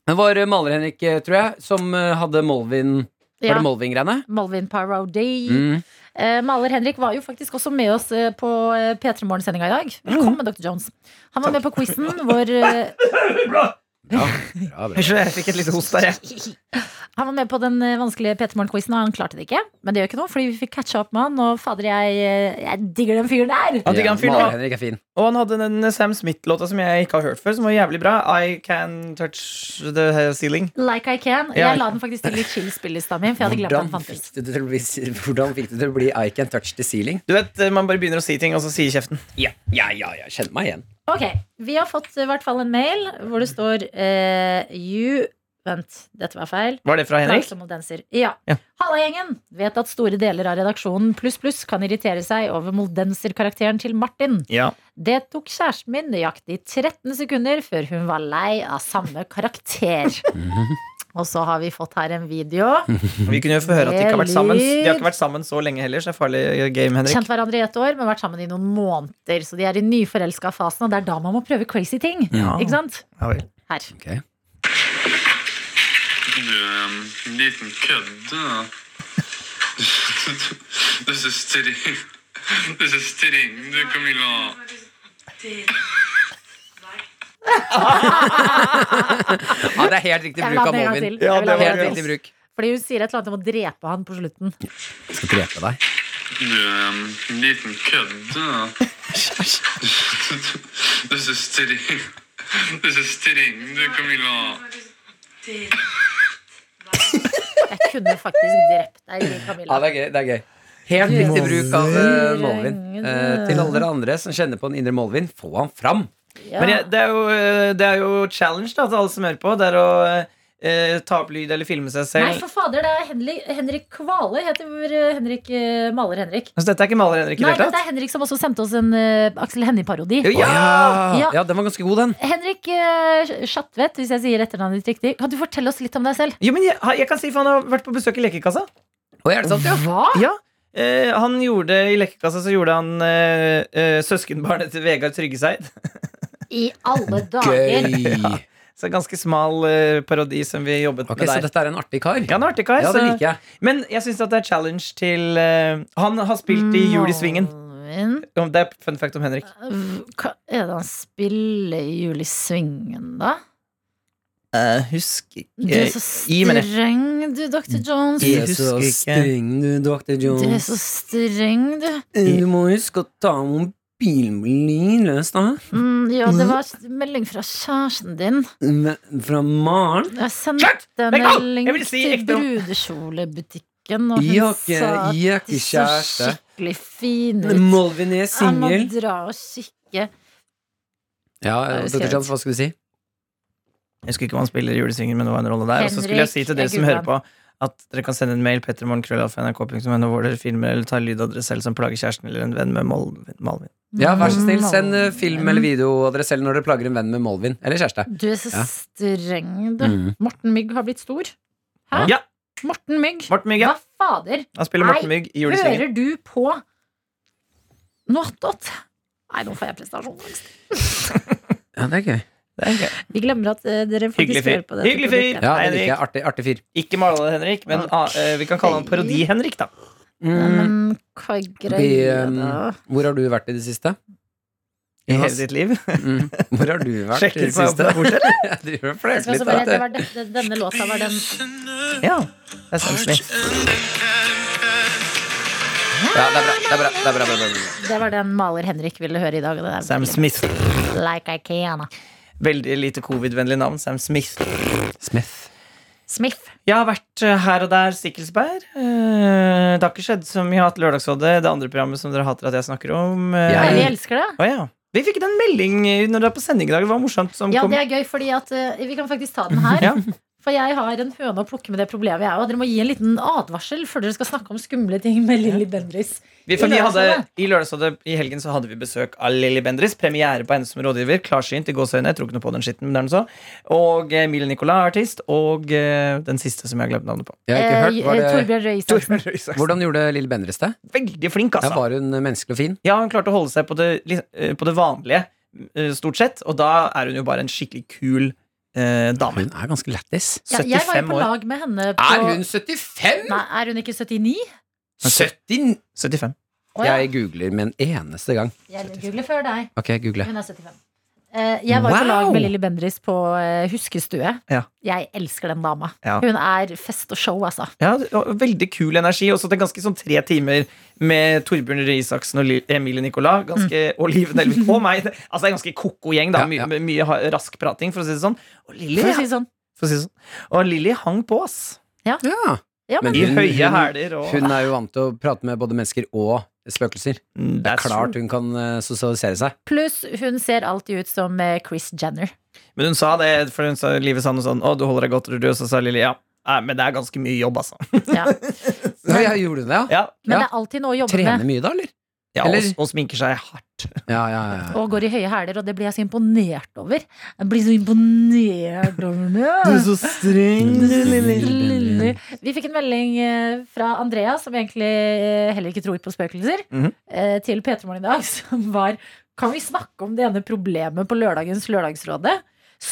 Speaker 6: Det var eh, maler-Henrik, eh, tror jeg, som eh, hadde Molvin Var
Speaker 2: Ja.
Speaker 6: det Molvin-greiene?
Speaker 2: Malvin Parody.
Speaker 6: Mm.
Speaker 2: Eh, maler Henrik var jo faktisk også med oss eh, på eh, P3 Morgen-sendinga i dag.
Speaker 6: Mm.
Speaker 2: Velkommen, Dr. Jones. Han var med på quizen hvor eh,
Speaker 3: Unnskyld, jeg fikk et lite host der, jeg.
Speaker 2: Han var med på den eh, vanskelige P3 Morgen-quizen, og han klarte det ikke. Men det gjør ikke noe, fordi vi fikk catcha opp med han, og fader, jeg, eh, jeg digger den fyren der.
Speaker 3: Han digger han fyren, da.
Speaker 6: Henrik er fin.
Speaker 3: Og han hadde den Sam Smith-låta som jeg ikke har hørt før, som var jævlig bra. I Can Touch The Ceiling.
Speaker 2: Like I Can.
Speaker 3: Ja.
Speaker 2: Jeg la den faktisk til litt chill-spillelista mi, for jeg hadde glemt at
Speaker 6: Hvordan
Speaker 2: den fantes.
Speaker 6: fikk, du det til å bli, hvordan fikk du det til å bli I can touch the ceiling?
Speaker 3: Du vet, eh, Man bare begynner å si ting, og så sier kjeften.
Speaker 6: Ja, ja, ja, jeg kjenner meg igjen.
Speaker 2: Ok, vi har fått eh, i hvert fall en mail hvor det står eh, You Vent, dette var feil.
Speaker 3: Var det fra Henrik?
Speaker 2: Langsomme danser. Ja.
Speaker 3: Ja.
Speaker 2: Halla, gjengen! Vet at store deler av redaksjonen pluss pluss kan irritere seg over moldenserkarakteren til Martin.
Speaker 3: Ja.
Speaker 2: Det tok kjæresten min nøyaktig 13 sekunder før hun var lei av samme karakter. Og så har vi fått her en video.
Speaker 3: Vi kunne jo få høre at de ikke har vært sammen De har ikke vært sammen så lenge heller, så det er farlig game, Henrik.
Speaker 2: Kjent hverandre i et år, men vært sammen i noen måneder. Så de er i nyforelska-fasen, og det er da man må prøve crazy ting.
Speaker 3: Ja.
Speaker 2: Ikke sant?
Speaker 3: Ja vel.
Speaker 2: Her.
Speaker 7: Du er en liten kødde. da. Du er så streng. Du er så streng, du, Camilla.
Speaker 6: Ja, det er helt riktig
Speaker 2: Jeg vil ha
Speaker 6: bruk av
Speaker 2: den en gang
Speaker 6: Movin.
Speaker 2: til. Jeg vil ha den en
Speaker 6: Helt
Speaker 2: gang
Speaker 6: riktig
Speaker 2: til.
Speaker 6: bruk.
Speaker 2: Fordi hun sier et eller annet om å drepe han på slutten.
Speaker 6: Skal drepe deg.
Speaker 7: Du er en liten kødde. da. Du er så streng. Du er så streng, du, Camilla.
Speaker 2: Jeg kunne faktisk drept deg,
Speaker 6: Ja,
Speaker 2: Camilla.
Speaker 6: det er gøy. Det er gøy. Helt riktig bruk av eh, Målvin. Eh, til alle dere andre som kjenner på en indre Målvin, få han fram.
Speaker 2: Ja.
Speaker 3: Men jeg, det, er jo, eh, det er jo challenge da, til alle som hører på. Det er å eh, ta opp lyd eller filme seg
Speaker 2: Nei,
Speaker 3: selv.
Speaker 2: for fader, det er Henrik, Henrik Kvale heter vår, eh, Henrik eh, Maler-Henrik.
Speaker 3: Så Altså, dette er ikke maler Henrik i
Speaker 2: Nei,
Speaker 3: det hele
Speaker 2: dette
Speaker 3: tatt?
Speaker 2: er Henrik som også sendte oss en eh, Aksel Hennie-parodi. Ja.
Speaker 6: Ja, den var ganske god, den.
Speaker 2: Henrik eh, Schatvedt, hvis jeg sier etternavnet ditt riktig, kan du fortelle oss litt om deg selv?
Speaker 3: Jo, men jeg, jeg kan si for han har vært på besøk i Lekekassa.
Speaker 6: Å, er det sant, ja?
Speaker 2: Hva?
Speaker 3: Ja Eh, han gjorde, I Lekekassa så gjorde han eh, eh, søskenbarnet til Vegard Tryggeseid.
Speaker 2: I alle dager.
Speaker 6: Gøy.
Speaker 3: Så ganske smal eh, parodi som vi jobbet
Speaker 6: Ok, Så
Speaker 3: med der.
Speaker 6: dette er en artig kar?
Speaker 3: Ja, han er artig kar.
Speaker 6: Ja, det
Speaker 3: så-
Speaker 6: liker jeg.
Speaker 3: Men jeg syns det er challenge til eh, Han har spilt i Jul i Svingen.
Speaker 2: Malvin.
Speaker 3: Om Det er fun fact om Henrik.
Speaker 2: Hva er det han spiller i Jul i Svingen, da?
Speaker 3: Jeg husker
Speaker 2: Du er så
Speaker 3: Eh, gi meg det.
Speaker 2: streng, du, Dr. Jones.
Speaker 3: Jeg husker ikke.
Speaker 6: du, Dr.
Speaker 2: Du er så streng, du.
Speaker 6: Du må huske å ta mobilen min løs, da.
Speaker 2: Mm, ja, det var melding fra kjæresten din.
Speaker 6: Fra Maren.
Speaker 2: Jeg
Speaker 3: Slutt!
Speaker 2: sendte en
Speaker 3: Legg av!
Speaker 2: melding
Speaker 3: Jeg vil si
Speaker 2: til
Speaker 3: ekte om-
Speaker 2: brudekjolebutikken, og hun
Speaker 6: Jeg er ikke-
Speaker 2: sa at
Speaker 6: jeg er ikke
Speaker 2: de så
Speaker 6: kjæreste.
Speaker 2: skikkelig fine ut.
Speaker 6: Molvin er
Speaker 2: Jeg må
Speaker 6: singel.
Speaker 2: dra og kikke.
Speaker 6: Ja,
Speaker 2: Nei, det skal
Speaker 6: Dr.
Speaker 2: jeg
Speaker 6: Jones, hva skal du si?
Speaker 3: Jeg husker ikke hva han spiller i Julesvingen, men det var en rolle der. Og så skulle jeg
Speaker 2: Henrik,
Speaker 3: si til dere
Speaker 2: jeg
Speaker 3: som
Speaker 2: googler
Speaker 3: hører på, at dere kan sende en mail pettermorgenkrøllalfa.nrk.no hvor dere filmer eller tar lyd av dere selv som plager kjæresten eller en venn med Mal- Malvin.
Speaker 6: Ja, vær
Speaker 2: Mm.
Speaker 6: så snill, send eh, film eller video av dere selv når dere plager en venn med Molvin. Eller kjæreste.
Speaker 2: Du er så
Speaker 6: Ja.
Speaker 2: streng, du.
Speaker 6: Mm.
Speaker 2: Morten Mygg har blitt stor. Hæ?
Speaker 3: Ja.
Speaker 2: Morten Mygg.
Speaker 3: Morten Mygg, ja.
Speaker 2: Hva fader?
Speaker 3: Han spiller Morten Mygg i Julesvingen.
Speaker 2: Hører du på noe attåt? Nei, nå får jeg prestasjonsangst.
Speaker 6: Ja, det er gøy.
Speaker 3: Det er gøy.
Speaker 2: Vi glemmer at eh, dere
Speaker 3: Hyggelig
Speaker 2: faktisk
Speaker 3: fyr.
Speaker 2: hører på dette.
Speaker 3: Hyggelig fyr.
Speaker 2: produktet.
Speaker 6: Ja, det
Speaker 3: Henrik.
Speaker 6: liker jeg. Artig, artig fyr.
Speaker 3: Ikke maler Henrik, men ah, eh, vi kan kalle han Parodi-Henrik, da.
Speaker 2: Nei,
Speaker 6: Mm.
Speaker 2: Men hva er
Speaker 6: Vi,
Speaker 2: greia,
Speaker 6: um,
Speaker 2: da?
Speaker 3: eh,
Speaker 6: Hvor har du vært i det siste?
Speaker 3: I hele
Speaker 6: Jonas?
Speaker 3: sitt liv.
Speaker 6: Mm. Hvor har du vært i
Speaker 3: Sjekker
Speaker 6: det
Speaker 3: seg opp
Speaker 6: siste?
Speaker 3: der borte.
Speaker 6: Du gjør
Speaker 2: Jeg
Speaker 6: flaut
Speaker 2: skal
Speaker 6: litt,
Speaker 2: også bare, det
Speaker 6: da.
Speaker 2: var den- den- denne låta var den
Speaker 3: Ja. Det er Sam Smith.
Speaker 6: Ja, det er bra. Det er bra, det er bra, bra, bra, bra.
Speaker 2: Det var den maler Henrik ville høre i dag. og det er
Speaker 3: Sam
Speaker 2: veldig-
Speaker 3: Smith.
Speaker 2: Like I can.
Speaker 3: Veldig lite covid-vennlig navn. Sam Smith.
Speaker 6: Smith.
Speaker 2: Smith.
Speaker 3: Jeg har vært eh, her og der Sikkelsberg. Eh, Det har ikke skjedd så mye. Jeg har hatt Lørdagsrådet, det andre programmet som dere hater at jeg snakker om. Eh,
Speaker 6: Ja,
Speaker 2: Nei, vi
Speaker 6: ja.
Speaker 2: elsker det.
Speaker 3: å ja. Vi fikk en melding eh, når det var på sending i dag. Det var morsomt. Som
Speaker 2: Ja,
Speaker 3: kom.
Speaker 2: det er gøy, fordi at eh, vi kan faktisk ta den her.
Speaker 3: Ja.
Speaker 2: For jeg har en høne å plukke med det problemet, jeg òg. Dere må gi en liten advarsel før dere skal snakke om skumle ting med Lilly Bendriss.
Speaker 3: vi, for
Speaker 2: i
Speaker 3: vi hadde,
Speaker 2: Lørdagsrådet.
Speaker 3: I Lørdagsrådet i helgen så hadde vi besøk av Lilly Bendriss. Premiere på henne som rådgiver. Klarsynt i gåseøyne. Jeg tror ikke noe på den skitten, men det er den så. Og eh, Emilie Nicolas, artist. Og eh, den siste som jeg har glemt navnet på.
Speaker 6: Jeg har
Speaker 2: Eh,
Speaker 6: ikke hørt.
Speaker 2: eh,
Speaker 6: Var det,
Speaker 2: Torbjørn Røe Isaksen.
Speaker 3: Torbjørn Røe Isaksen.
Speaker 6: hvordan gjorde Lille Bendriss det?
Speaker 3: Veldig flink,
Speaker 6: Ja,
Speaker 3: altså.
Speaker 6: var hun eh, menneskelig og fin?
Speaker 3: Ja, hun klarte å holde seg på det, li- eh, på det vanlige, eh, stort sett. Og da er hun jo bare en skikkelig kul eh, dame.
Speaker 6: Hun er ganske lættis.
Speaker 2: Ja, jeg var jo
Speaker 3: 75
Speaker 2: på
Speaker 3: år.
Speaker 2: lag med henne på
Speaker 6: Er hun 75?
Speaker 2: Nei, er hun ikke 79?
Speaker 6: 70?
Speaker 3: 75.
Speaker 2: Å, ja.
Speaker 6: Jeg googler med en eneste gang.
Speaker 2: Jeg googler før deg.
Speaker 6: Ok, google.
Speaker 2: Hun er 75. Eh, Jeg var jo på
Speaker 6: Wow!
Speaker 2: lag med Lilly Bendriss på eh, Huskestue.
Speaker 3: Ja.
Speaker 2: Jeg elsker den dama.
Speaker 3: Ja.
Speaker 2: Hun er fest og show, altså.
Speaker 3: Ja, og Veldig kul energi. Også til ganske sånn tre timer med Torbjørn Røe Isaksen og Li- Emilie Nicolas. Ganske, Og Liv Nelvik og meg. Altså en ganske ko-ko gjeng. da
Speaker 6: Mm. Ja, ja.
Speaker 3: Mye, med mye ha- rask prating, for å si det sånn. Og Lilly
Speaker 2: For å si det sånn.
Speaker 3: for å si det sånn. Og Lilly hang på, ass.
Speaker 6: Ja.
Speaker 2: Ja, men,
Speaker 6: Men
Speaker 3: I
Speaker 6: hun-
Speaker 3: høye
Speaker 6: hun-
Speaker 3: hæler og
Speaker 6: Hun er jo vant til å prate med både mennesker og spøkelser.
Speaker 3: Mm,
Speaker 6: Det er
Speaker 3: that's
Speaker 6: klart
Speaker 3: true.
Speaker 6: hun kan eh, sosialisere seg.
Speaker 2: Pluss hun ser alltid ut som Chris Jenner.
Speaker 3: Men hun sa det, for hun sa livet sa noe sånn Å, du holder deg godt, er du død? Så sa Lilly ja. Nei, Men det er ganske mye jobb, altså.
Speaker 2: Ja.
Speaker 6: Ja, ja, gjorde hun det, ja?
Speaker 3: Ja,
Speaker 2: Men
Speaker 6: Ja.
Speaker 2: det er alltid noe å jobbe
Speaker 6: Trener
Speaker 2: med.
Speaker 6: mye, da, eller?
Speaker 3: Ja,
Speaker 6: Eller-
Speaker 3: og, og sminker seg hardt bart.
Speaker 6: Ja, ja, ja.
Speaker 2: Og går i høye hæler, og det blir jeg så imponert over. Jeg blir så imponert over det.
Speaker 3: så streng, Mm.
Speaker 2: Lille. Vi fikk en melding eh, fra Andrea, som egentlig eh, heller ikke tror på spøkelser,
Speaker 3: Mhm.
Speaker 2: eh, til P3morgen i dag, som var Kan vi snakke om det ene problemet på lørdagens Lørdagsrådet?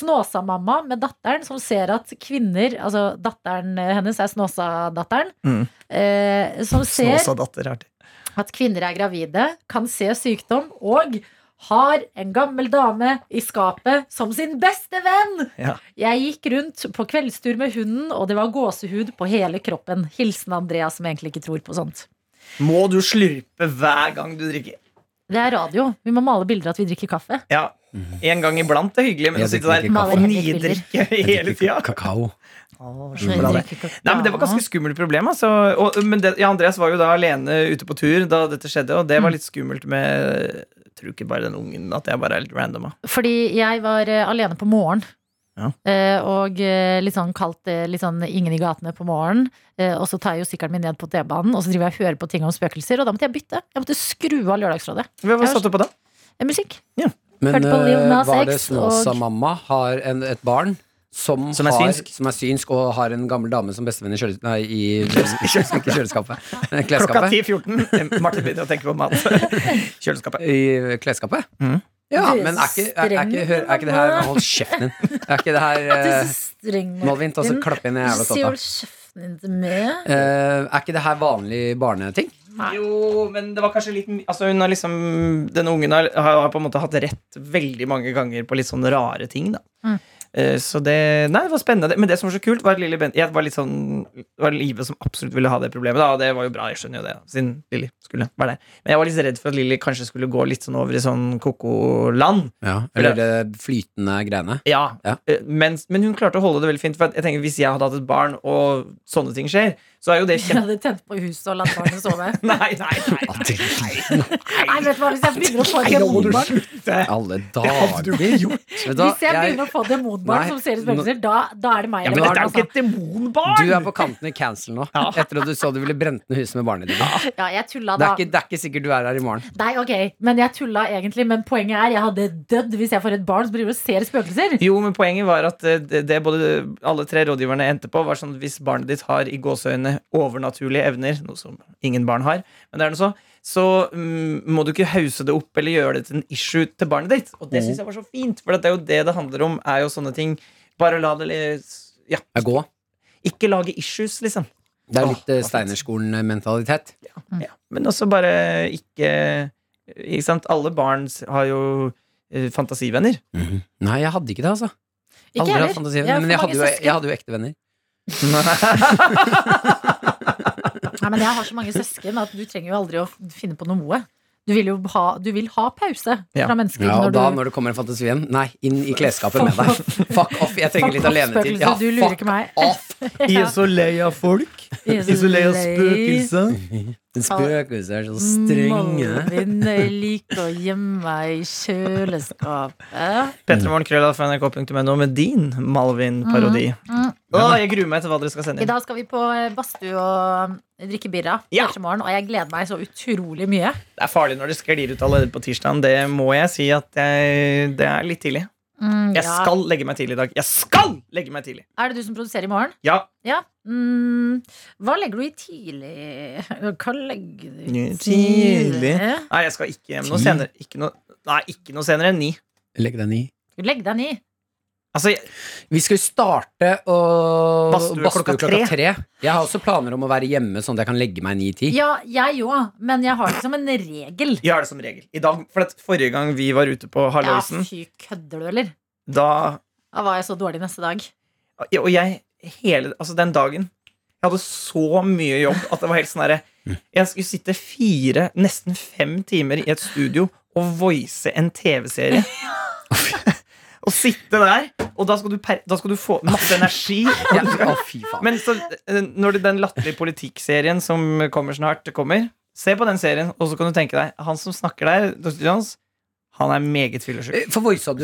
Speaker 2: Snåsamamma med datteren som ser at kvinner Altså datteren hennes er Snåsadatteren.
Speaker 3: Mhm.
Speaker 2: Eh, som ser
Speaker 3: Snåsa datter er det.
Speaker 2: at kvinner er gravide, kan se sykdom og har en gammel dame i skapet som sin beste venn.
Speaker 3: Ja.
Speaker 2: Jeg gikk rundt på kveldstur med hunden, og det var gåsehud på hele kroppen. Hilsen Andrea, som egentlig ikke tror på sånt.
Speaker 3: Må du slurpe hver gang du drikker?
Speaker 2: Det er radio. Vi må male bilder av at vi drikker kaffe.
Speaker 3: Ja, En gang iblant er hyggelig, men å
Speaker 6: Jeg
Speaker 3: sitte der
Speaker 6: drikker
Speaker 2: ikke
Speaker 3: og
Speaker 2: kaffe.
Speaker 3: nidrikke hele tida
Speaker 6: Kakao.
Speaker 3: Mm, Bra det. Nei, men Det var ganske skummelt problem. Altså. Og, men det, ja, Andreas var jo da alene ute på tur da dette skjedde, og det var litt skummelt med jeg Tror ikke bare den ungen at jeg bare er litt random. da.
Speaker 2: Fordi jeg var eh, alene på morgen.
Speaker 3: Ja.
Speaker 2: Eh, og eh, litt sånn kaldt, eh, litt sånn ingen i gatene på morgenen. Eh, og så tar jeg jo sykkelen min ned på T-banen, og så driver jeg og hører på ting om spøkelser. Og da måtte jeg bytte. Jeg måtte skru av Lørdagsrådet.
Speaker 3: Hva hva satte du på da?
Speaker 2: Eh, Musikk.
Speaker 6: Men
Speaker 2: Hørte på Lil
Speaker 6: eh,
Speaker 2: Nas
Speaker 6: var det
Speaker 2: X og-
Speaker 6: Snåsa-mamma har en, et barn som,
Speaker 3: Som er
Speaker 6: har,
Speaker 3: synsk?
Speaker 6: som er synsk og har en gammel dame som bestevenn i, kjøles, nei, i ikke kjøleskapet. eh,
Speaker 3: Klokka
Speaker 6: Klesskapet.
Speaker 3: 10.14. Martin begynner å tenke på mat. Kjøleskapet.
Speaker 6: I eh, klesskapet?
Speaker 3: Mhm.
Speaker 6: Ja,
Speaker 2: Du er
Speaker 6: men er ikke, er, er ikke,
Speaker 2: streng,
Speaker 6: hør, er ikke det her
Speaker 2: mamma.
Speaker 6: Hold kjeften din. Er ikke det her
Speaker 2: Du er
Speaker 6: eh,
Speaker 2: så streng.
Speaker 6: Malvin, ta så
Speaker 2: Martin.
Speaker 6: klapp inn i
Speaker 2: Du
Speaker 6: jævla
Speaker 2: sier
Speaker 6: totta.
Speaker 2: vel kjeften din til meg?
Speaker 6: Eh, er ikke det her vanlig barneting?
Speaker 3: Jo, men det var kanskje litt my- Altså hun har liksom Denne ungen har, har på en måte hatt rett veldig mange ganger på litt sånne rare ting, da.
Speaker 2: Mm.
Speaker 3: Eh, Så det Nei, det var spennende. Men det som var så kult, var at Lilly Bent Jeg var litt sånn Det var Live som absolutt ville ha det problemet, da, og det var jo bra, jeg skjønner jo det, da, siden Lilly skulle være der. Men jeg var litt redd for at Lilly kanskje skulle gå litt sånn over i sånn koko-land.
Speaker 6: Eller det flytende greiene?
Speaker 3: Ja,
Speaker 6: Ja.
Speaker 3: eh, Men, men hun klarte å holde det veldig fint. For at jeg tenker, Hvis jeg hadde hatt et barn, og sånne ting skjer, så er jo det
Speaker 2: Jeg
Speaker 3: kjempe...
Speaker 2: hadde tent på huset og latt barnet sove.
Speaker 3: Nei, nei, nei.
Speaker 2: Nei, vet du hva, hvis jeg begynner å få et demonbarn
Speaker 6: Alle dager! Vet du hva,
Speaker 2: Hvis jeg
Speaker 6: jeg-
Speaker 2: begynner å få et demonbarn
Speaker 6: Nei,
Speaker 2: som ser ut som spøkelser, da, da er det meg.
Speaker 3: Ja,
Speaker 2: eller
Speaker 3: men
Speaker 6: men
Speaker 2: barnet,
Speaker 3: dette er jo ikke
Speaker 2: altså.
Speaker 3: et demonbarn!
Speaker 6: Du er på kanten i cancel nå. Etter at du så du ville brent ned huset med barnet ditt. Det,
Speaker 2: ja, jeg tulla
Speaker 6: er
Speaker 2: da.
Speaker 6: ikke- det er ikke sikkert du er her i morgen.
Speaker 2: Nei, ok, men jeg tulla egentlig. Men poenget er jeg hadde dødd hvis jeg får et barn som driver og ser spøkelser.
Speaker 3: Jo, men poenget var at eh, det, det både alle tre rådgiverne endte på, var sånn at hvis barnet ditt har i gåseøyne overnaturlige evner, noe som ingen barn har, men det er noe så, så mm, må du ikke hause det opp eller gjøre det til en issue til barnet ditt. Og det syns jeg var så fint, for det er jo det det handler om, er jo sånne ting. Bare la det les- Ja,
Speaker 6: Jeg går.
Speaker 3: ikke lage issues, liksom.
Speaker 6: Det er
Speaker 3: Åh,
Speaker 6: litt eh,
Speaker 3: hva fint.
Speaker 6: Steinerskolen-mentalitet.
Speaker 3: Ja, men også bare ikke Ikke sant, alle barn s- har jo eh, fantasivenner.
Speaker 6: Nei, jeg hadde ikke det, altså.
Speaker 2: Ikke
Speaker 6: Aldri hatt
Speaker 2: heller.
Speaker 6: fantasi.
Speaker 2: Jeg har for
Speaker 6: men jeg hadde,
Speaker 2: mange
Speaker 6: jo, jeg
Speaker 2: søsken.
Speaker 6: hadde jo ekte venner.
Speaker 2: Nei, men jeg har så mange søsken at du trenger jo aldri å finne på noe. Du vil jo ha, du vil ha pause
Speaker 3: Ja.
Speaker 2: fra mennesker
Speaker 6: Ja, og
Speaker 2: når
Speaker 6: da
Speaker 2: du
Speaker 6: når det kommer en fantasi igjen Nei, inn i klesskapet med deg. Fuck off, jeg trenger litt
Speaker 2: Fuck off,
Speaker 6: alenetid.
Speaker 2: spøkelse, du lurer ikke meg.
Speaker 6: off!
Speaker 3: Jeg er så lei av folk.
Speaker 2: Jeg er så Jeg er så lei av lei.
Speaker 6: Den spøkelset er så strenge.
Speaker 2: Malvin liker å gjemme meg i kjøleskapet.
Speaker 3: Petremorgenkrøll.nrk.no med din Malvin-parodi.
Speaker 2: mm.
Speaker 3: Å, jeg gruer meg til hva dere skal sende
Speaker 2: I
Speaker 3: inn.
Speaker 2: dag skal vi på eh, badstue og eh, drikke birra.
Speaker 3: Ja.
Speaker 2: første morgen, Og jeg gleder meg så utrolig mye.
Speaker 3: Det er farlig når det sklir ut allerede på tirsdagen. Det må jeg si at jeg, det er litt tidlig.
Speaker 2: Mm,
Speaker 3: Jeg
Speaker 2: ja.
Speaker 3: skal legge meg tidlig i dag. Jeg skal legge meg tidlig!
Speaker 2: Er det du som produserer i morgen?
Speaker 3: Ja.
Speaker 2: Ja. Mm, hva legger du i tidlig? Hva legger du i
Speaker 3: Tidlig. Nei, jeg skal ikke hjem noe
Speaker 6: Ti?
Speaker 3: senere. Ikke noe, nei, ikke noe senere enn ni.
Speaker 6: Legg den i.
Speaker 2: Legg deg ned.
Speaker 3: Altså, jeg,
Speaker 6: Vi skal jo starte å
Speaker 3: Badstue klokka tre.
Speaker 6: Jeg har også planer om å være hjemme sånn at jeg kan legge meg ni-ti.
Speaker 2: Ja, jeg òg, men jeg har det som en regel.
Speaker 3: jeg har det som regel. I dag, for at Forrige gang vi var ute på
Speaker 2: Ja,
Speaker 3: Halloisen,
Speaker 2: fy, kødder du, eller?
Speaker 3: da
Speaker 2: Da var jeg så dårlig neste dag.
Speaker 3: Ja, Og jeg, hele, altså den dagen Jeg hadde så mye jobb at det var helt sånn herre Jeg skulle sitte fire, nesten fem timer i et studio og voice en TV-serie. og sitte der, og da skal du, per, da skal du få masse energi.
Speaker 6: Ja, å, fy faen.
Speaker 3: Men så, eh, når det, den latterlige politikkserien som kommer snart, kommer Se på den serien, og så kan du tenke deg han som snakker der, Dr. Jones, han er meget fyllesyk.
Speaker 6: For voisa du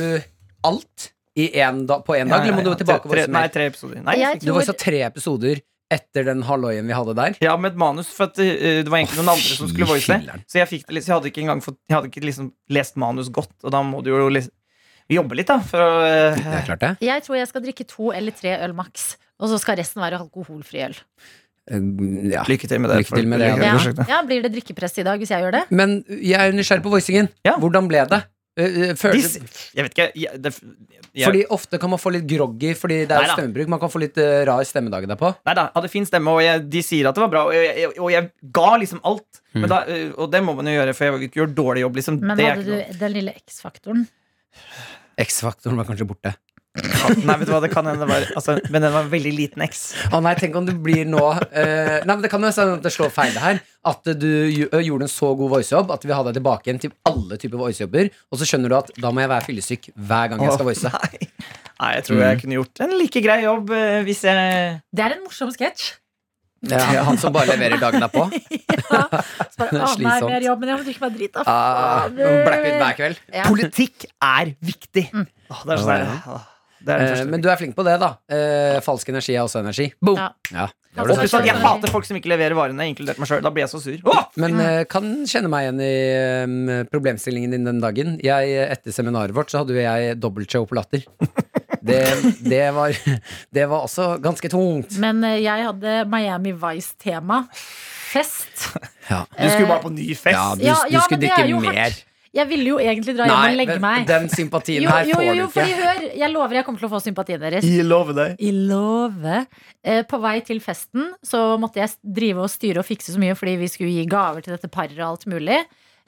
Speaker 6: alt i en da, på én dag, eller må du tilbake og
Speaker 3: tre,
Speaker 6: voice
Speaker 3: Nei,
Speaker 6: mer?
Speaker 3: tre episoder. Nei,
Speaker 2: Jeg
Speaker 6: Du voisa tre episoder etter den halvøyen vi hadde der.
Speaker 3: Ja, med et manus, for at, eh, det var egentlig
Speaker 6: Å,
Speaker 3: noen andre som
Speaker 6: fy
Speaker 3: skulle voice det.
Speaker 6: filleren.
Speaker 3: Så jeg, fikk det, litt- så jeg hadde ikke engang fått, jeg hadde ikke liksom lest manus godt, og da må du jo liksom jobbe litt, da. For å,
Speaker 6: Det er
Speaker 3: eh,
Speaker 6: klart, det.
Speaker 2: Jeg tror jeg skal drikke to eller tre øl maks. Og så skal resten være alkoholfri øl.
Speaker 6: Eh, Ja.
Speaker 3: lykke til med det.
Speaker 6: Lykke til med det,
Speaker 3: Lykke
Speaker 2: Ja.
Speaker 3: med prosjektet.
Speaker 2: ja, Blir det drikkepress i dag hvis jeg gjør det?
Speaker 6: Men jeg er nysgjerrig på voicingen.
Speaker 3: Ja.
Speaker 6: Hvordan ble det? Eh, eh, Følte,
Speaker 3: Dis- Jeg vet ikke. Jeg, det, jeg,
Speaker 6: Fordi ofte kan man få litt groggy, fordi det er
Speaker 3: Neida.
Speaker 6: stemmebruk. Man kan få litt eh, rar stemmedag derpå.
Speaker 3: Nei da, hadde fin stemme, og jeg, de sier at det var bra, og jeg, jeg- og jeg ga liksom alt.
Speaker 6: Mm.
Speaker 3: Men da, øh, og det må man jo gjøre, for jeg vil ikke gjøre dårlig jobb, liksom.
Speaker 2: Men
Speaker 3: det er
Speaker 2: hadde
Speaker 3: ikke noe.
Speaker 2: du den lille X-faktoren?
Speaker 6: X-faktoren var kanskje borte.
Speaker 3: Nei, vet du hva, det kan hende det var altså, Men den var en veldig liten X.
Speaker 6: Å nei, tenk om du blir nå eh, Nei, men Det kan jo være at det slår feil det her. At du gj- ø, gjorde en så god voicejobb at vi hadde deg tilbake igjen til alle typer voicejobber. Og så skjønner du at da må jeg være fyllesyk hver gang jeg skal voice. Mm.
Speaker 3: Nei. Nei, jeg tror jeg kunne gjort en like grei jobb øh, hvis jeg
Speaker 2: Det er en morsom sketsj.
Speaker 6: Ja, han som bare leverer dagen derpå.
Speaker 2: Ja. Så bare, «Å,
Speaker 6: Det er
Speaker 2: nei,
Speaker 6: slitsomt.
Speaker 2: mer jobb, men jeg må drikke meg drit av.
Speaker 6: Ah, Blackout hver kveld.
Speaker 2: Ja. Mm.
Speaker 3: Politikk er viktig! Åh, det er sånn der, åh, det er den
Speaker 6: Eh,
Speaker 3: første.
Speaker 6: men du er flink på det, da. Eh, falsk energi er også energi. Boom!
Speaker 2: Ja.
Speaker 6: Ja.
Speaker 2: Og
Speaker 3: og plutselig, at jeg
Speaker 2: Sorry.
Speaker 3: hater folk som ikke leverer varene, inkludert meg sjøl. Da blir jeg så sur. Åh!
Speaker 6: Men eh, kan kjenne meg igjen i eh, problemstillingen din den dagen. Jeg, eh, etter seminaret vårt så hadde jo jeg dobbeltshow på latter. Det, det, var, det var også ganske tungt.
Speaker 2: Men eh, jeg hadde Miami Vice-tema. Fest.
Speaker 6: Ja.
Speaker 3: Du skulle
Speaker 2: Eh,
Speaker 3: bare på ny fest.
Speaker 6: Ja, du,
Speaker 2: Ja,
Speaker 6: du
Speaker 2: ja, men
Speaker 6: skulle
Speaker 2: det er jo
Speaker 6: drikke
Speaker 2: hardt.
Speaker 6: mer.
Speaker 2: Eh, Jeg ville jo egentlig dra hjem og legge
Speaker 6: men
Speaker 2: meg.
Speaker 6: den sympatien
Speaker 2: Jo,
Speaker 6: her
Speaker 2: jo,
Speaker 6: får
Speaker 2: jo, jo,
Speaker 6: du
Speaker 2: fordi
Speaker 6: ikke.
Speaker 2: hør, jeg lover jeg kommer til å få sympatien deres.
Speaker 3: Jeg lover deg.
Speaker 2: I låve. Eh, på vei til festen så måtte jeg s- drive og styre og fikse så mye fordi vi skulle gi gaver til dette paret og alt mulig.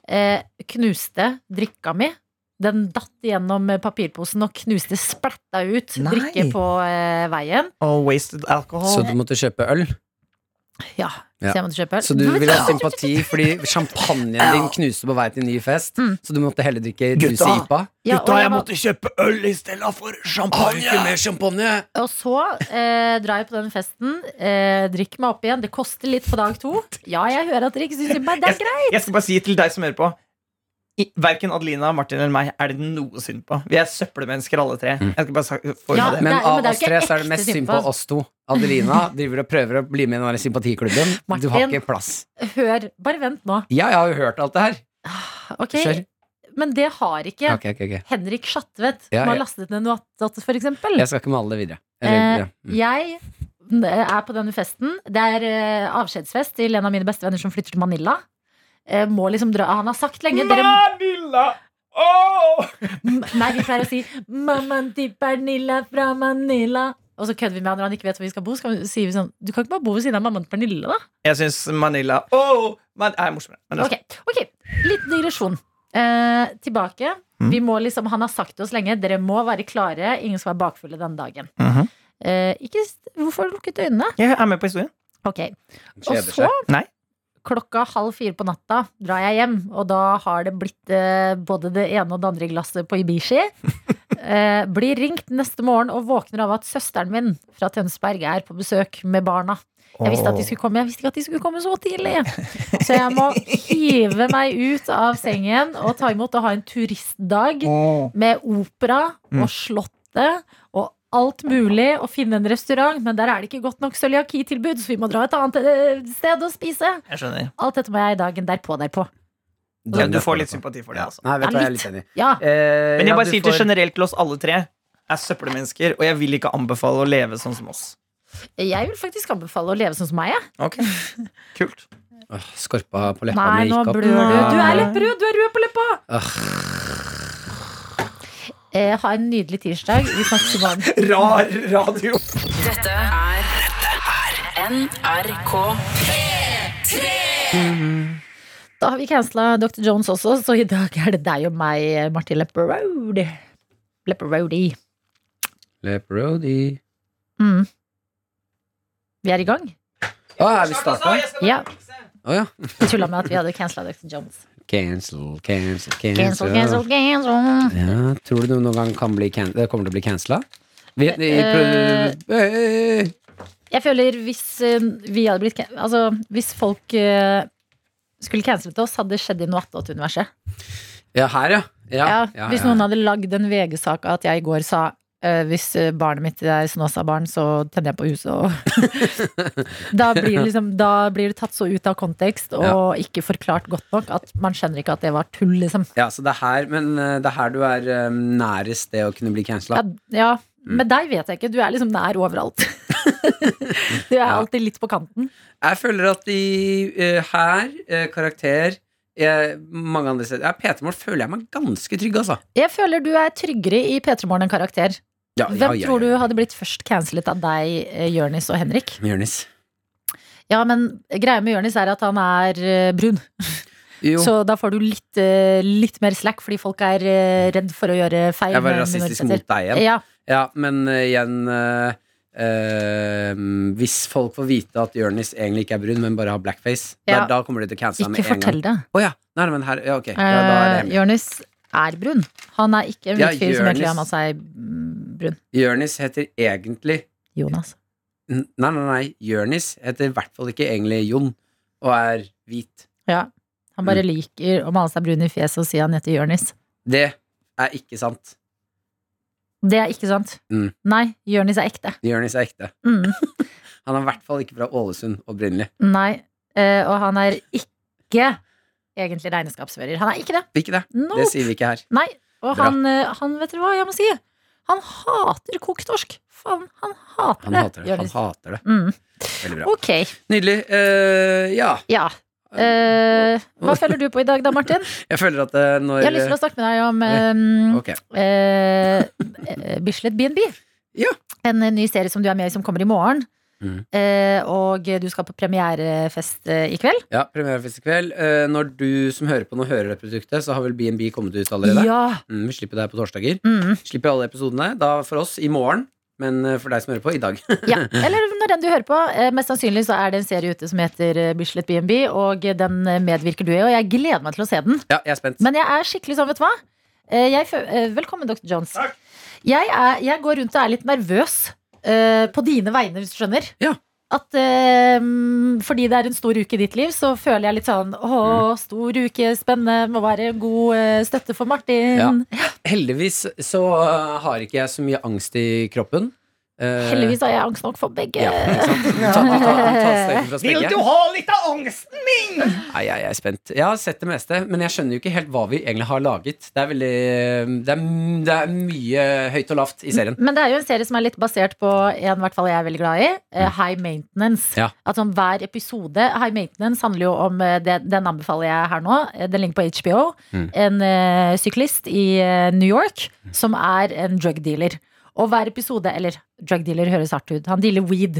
Speaker 2: Eh, knuste drikka mi. Den datt gjennom eh, papirposen og knuste splatta ut
Speaker 3: Nei.
Speaker 2: drikke på eh, veien.
Speaker 3: Og wasted alcohol.
Speaker 6: Så du måtte kjøpe øl?
Speaker 2: Ja,
Speaker 6: Ja.
Speaker 2: Så jeg måtte kjøpe øl.
Speaker 6: Så du ville ha sympati fordi champagnen din knuste på vei til en ny fest?
Speaker 2: Mm.
Speaker 6: Så du måtte heller drikke
Speaker 3: Gutta.
Speaker 6: rus i IPA?
Speaker 2: Ja, og, jeg var,
Speaker 3: kjøpe øl i stedet for
Speaker 6: mer champagne!
Speaker 2: og så eh, drar jeg på den festen, eh, drikker meg opp igjen. Det koster litt på dag to. Ja, jeg hører at dere ikke syns meg. Det er greit.
Speaker 3: Jeg skal bare si til deg som hører på i- Verken Adelina, Martin eller meg er det noe synd på. Vi er søppelmennesker alle tre.
Speaker 6: Mm.
Speaker 3: Jeg skal bare sa- få
Speaker 2: Ja,
Speaker 3: unna det.
Speaker 6: Men
Speaker 2: Nei, men
Speaker 6: av
Speaker 2: det er
Speaker 6: oss
Speaker 2: jo ikke
Speaker 6: tre så er det
Speaker 2: ekte
Speaker 6: mest synd
Speaker 2: synd
Speaker 6: på
Speaker 2: på
Speaker 6: oss to. Adelina driver og prøver å bli med i den der sympatiklubben. Du har
Speaker 2: Martin.
Speaker 6: ikke plass.
Speaker 2: Hør. Bare vent nå.
Speaker 6: Ja, jeg har jo hørt alt det her.
Speaker 2: Ok,
Speaker 6: Kjør.
Speaker 2: Men det har ikke
Speaker 6: Ok, ok, ok.
Speaker 2: Henrik Schatvedt,
Speaker 6: Ja,
Speaker 2: som har
Speaker 6: ja.
Speaker 2: lastet ned Noatat, for eksempel.
Speaker 6: Jeg skal ikke male det videre. Eller, ja.
Speaker 2: Eh, jeg
Speaker 6: Mm.
Speaker 2: er på denne festen. Det er eh, avskjedsfest til en av mine bestevenner som flytter til Manila. Eh, må liksom dra Han har sagt lenge dere,
Speaker 3: Manila! Åh!
Speaker 2: m- Nei, vi pleier å si 'Mamma til Pernilla fra Manila'. Og så kødder vi med han når han ikke vet hvor vi skal bo. Skal vi, sier vi sånn, du kan ikke bare bo ved siden av mammaen til Pernilla, da.
Speaker 3: Jeg syns Manila Åh! Man er morsommere. Men altså. det er
Speaker 2: Ok, ok, Liten digresjon. Eh, tilbake.
Speaker 3: Mm.
Speaker 2: Vi må liksom, han har sagt til oss lenge dere må være klare. Ingen skal være bakfulle den dagen.
Speaker 3: sant. Mhm.
Speaker 2: Eh, ikke, st- hvorfor har du lukket øynene?
Speaker 3: Jeg er med på historien.
Speaker 2: Ok, Og
Speaker 6: Kjeder
Speaker 2: så
Speaker 6: seg.
Speaker 3: Nei.
Speaker 2: klokka halv fire på natta drar jeg hjem, og da har det blitt eh, både det ene og det andre glasset på Ibishi. Eh, blir ringt neste morgen og våkner av at søsteren min fra Tønsberg er på besøk med barna. Jeg visste at de skulle komme, jeg visste ikke at de skulle komme så tidlig. Så jeg må hive meg ut av sengen og ta imot og ha en turistdag
Speaker 3: Åh.
Speaker 2: med opera og slottet og alt mulig, og finne en restaurant, men der er det ikke godt nok cøliaki-tilbud, så vi må dra et annet eh, sted og spise.
Speaker 3: Jeg skjønner.
Speaker 2: Alt dette må jeg dagen derpå, derpå.
Speaker 3: Ja, du får litt sympati for det, altså.
Speaker 6: Nei, vet du hva, jeg er
Speaker 2: Litt.
Speaker 6: litt enig.
Speaker 2: Ja,
Speaker 6: Eh,
Speaker 3: Men jeg
Speaker 6: ja, du
Speaker 3: bare sier til
Speaker 6: får-
Speaker 3: generelt til oss alle tre er søppelmennesker, og jeg vil ikke anbefale å leve sånn som oss.
Speaker 2: jeg vil faktisk anbefale å leve sånn som meg, jeg.
Speaker 3: Ok, Kult.
Speaker 6: Åh, Skorpa på leppa
Speaker 2: Nei,
Speaker 6: mi
Speaker 2: nå
Speaker 6: gikk opp.
Speaker 2: blør du. Du er litt rød, du er rød på leppa! Eh, ha en nydelig tirsdag. Vi snakkes i morgen.
Speaker 3: Rar radio.
Speaker 8: Dette er NRK.
Speaker 2: Da har vi cancela Dr. Jones også, så i dag er det deg og meg, Martin Lepperodi. Lepperodi.
Speaker 6: Leprodi.
Speaker 2: Mm. Vi er i gang.
Speaker 6: Å, er vi starta?
Speaker 2: Ja,
Speaker 6: Å ja.
Speaker 2: vi tulla med at vi hadde cancela Dr. Jones.
Speaker 6: Cancel, cancel,
Speaker 2: Cancel, cancel, cancel.
Speaker 6: Ja, tror du det noen gang kan bli can det kommer til å bli cancela? Vi, vi,
Speaker 2: Eh,
Speaker 6: Eh,
Speaker 2: Jeg føler hvis eh, vi hadde blitt can- Altså, hvis folk eh, skulle cancelet oss, hadde det skjedd i noe 88-universet.
Speaker 6: ja, her, ja. Ja,
Speaker 2: Ja,
Speaker 6: ja,
Speaker 2: hvis
Speaker 6: ja.
Speaker 2: noen hadde lagd en VG-sak av at jeg i går sa eh, hvis eh, barnet mitt er snåsabarn, så tenner jeg på huset og da, blir det liksom, da blir det tatt så ut av kontekst og ikke forklart godt nok at man skjønner ikke at det var tull, liksom.
Speaker 6: Ja, så det er her, men eh, det er her du er eh, nærest det å kunne bli cancela.
Speaker 2: Ja, ja.
Speaker 6: Mm.
Speaker 2: Med deg vet jeg ikke. Du er liksom nær overalt. du er alltid litt på kanten.
Speaker 6: Jeg føler at i eh, her, eh, karakter eh, mange andre steder. Ja, PT-mål føler jeg meg ganske trygg, altså.
Speaker 2: Jeg føler du er tryggere i P3 Morgen enn karakter.
Speaker 6: Ah, Ja,
Speaker 2: Hvem tror du hadde blitt først cancelet av deg, eh, Jørnis og Henrik?
Speaker 6: Jonis.
Speaker 2: Ja, men greia med Jørnis er at han er eh, brun.
Speaker 6: Jo,
Speaker 2: Så da får du litt, eh, litt mer slack, fordi folk er eh, redd for å gjøre feil.
Speaker 6: jeg var
Speaker 2: med
Speaker 6: rasistisk
Speaker 2: minoriteter.
Speaker 6: mot deg igjen.
Speaker 2: Ja,
Speaker 6: Ja, men eh, igjen eh, eh, Hvis folk får vite at Jonis egentlig ikke er brun, men bare har blackface,
Speaker 2: Ja.
Speaker 6: da, da kommer de til å cancele ham
Speaker 2: ikke
Speaker 6: med en gang.
Speaker 2: fortell det.
Speaker 6: Å ja. Nei, nei, men her, ja, ok. Ja, da er det
Speaker 2: Eh,
Speaker 6: hemmelig.
Speaker 2: Jørnis er brun. Han er ikke en
Speaker 6: Ja,
Speaker 2: hvit fyr som egentlig
Speaker 6: Jørnis.
Speaker 2: har med seg mm, brun.
Speaker 6: Jonis heter egentlig
Speaker 2: Jonas.
Speaker 6: N- Nei, nei, nei. Jonis heter i hvert fall ikke egentlig Jon, og er hvit.
Speaker 2: Ja. Han bare
Speaker 6: Mm.
Speaker 2: liker å male seg brun i fjeset og si han heter Jørnis.
Speaker 6: Det er ikke sant.
Speaker 2: Det er ikke sant.
Speaker 6: Mm.
Speaker 2: Nei, Jørnis er ekte.
Speaker 6: Jonis er ekte.
Speaker 2: Mm.
Speaker 6: Han er i hvert fall ikke fra Ålesund opprinnelig.
Speaker 2: Nei. Eh, og han er ikke egentlig regnskapsfører. Han er ikke det.
Speaker 6: Ikke det.
Speaker 2: No.
Speaker 6: Det sier vi ikke her.
Speaker 2: Nei. Og
Speaker 6: Bra.
Speaker 2: han, eh, han, vet dere hva jeg må si? Han hater kokt torsk. Faen, han hater
Speaker 6: Han
Speaker 2: det.
Speaker 6: hater det. Han hater det.
Speaker 2: Mm.
Speaker 6: Veldig bra.
Speaker 2: Ok.
Speaker 6: Nydelig. Eh, ja.
Speaker 2: Ja. Eh, hva føler du på i dag da, Martin?
Speaker 6: Jeg føler at eh, når
Speaker 2: Jeg har lyst til å snakke med deg om
Speaker 6: Ok.
Speaker 2: eh, eh, Bislett BNB.
Speaker 6: Ja.
Speaker 2: En eh, ny serie som du er med i, som kommer i morgen.
Speaker 6: Mhm.
Speaker 2: Eh, og du skal på premierefest eh, i kveld.
Speaker 6: Ja, premierefest i kveld. Eh, når du som hører på nå, hører det produktet, så har vel BNB kommet ut allerede?
Speaker 2: Ja!
Speaker 6: Mm, vi slipper det her på torsdager.
Speaker 2: Mm.
Speaker 6: Slipper alle episodene. Da for oss i morgen, men eh, for deg som hører på, i dag.
Speaker 2: ja. Eller når den du hører på. Eh, mest sannsynlig så er det en serie ute som heter eh, Bislett BNB, og eh, den eh, medvirker du i, og jeg gleder meg til å se den.
Speaker 6: ja, jeg er spent.
Speaker 2: Men jeg er skikkelig sånn, vet du hva? Eh, Jeg, fø- eh, velkommen, Dr. Jones. Jeg, er, jeg går rundt og er litt nervøs eh, på dine vegne, hvis du skjønner.
Speaker 6: Ja.
Speaker 2: At eh, mm, fordi det er en stor uke i ditt liv, så føler jeg litt sånn Å,
Speaker 6: Mm.
Speaker 2: stor uke, spennende, må være en god eh, støtte for Martin.
Speaker 6: Heldigvis så eh, har ikke jeg så mye angst i kroppen. Eh,
Speaker 2: Heldigvis har jeg angst nok for begge.
Speaker 6: Ja, ikke sant? Ta, ta, ta, ta støyten fra
Speaker 3: Vil
Speaker 6: spegget.
Speaker 3: du ha litt av angsten min?
Speaker 6: Nei, jeg, jeg er spent. Jeg har sett det meste, men jeg skjønner jo ikke helt hva vi egentlig har laget. Det er veldig Det er, det er mye høyt og lavt i serien.
Speaker 2: Men det er jo en serie som er litt basert på en hvert fall jeg er veldig glad i. eh, High Maintenance.
Speaker 6: Mm. Ja.
Speaker 2: At sånn hver episode High Maintenance handler jo om eh, det, Den anbefaler jeg her nå. eh, Den ligger på HBO.
Speaker 6: Mm.
Speaker 2: En eh, syklist i eh, New York som er en drug dealer. Og hver episode Eller drug dealer høres hardt ut. Han dealer weed.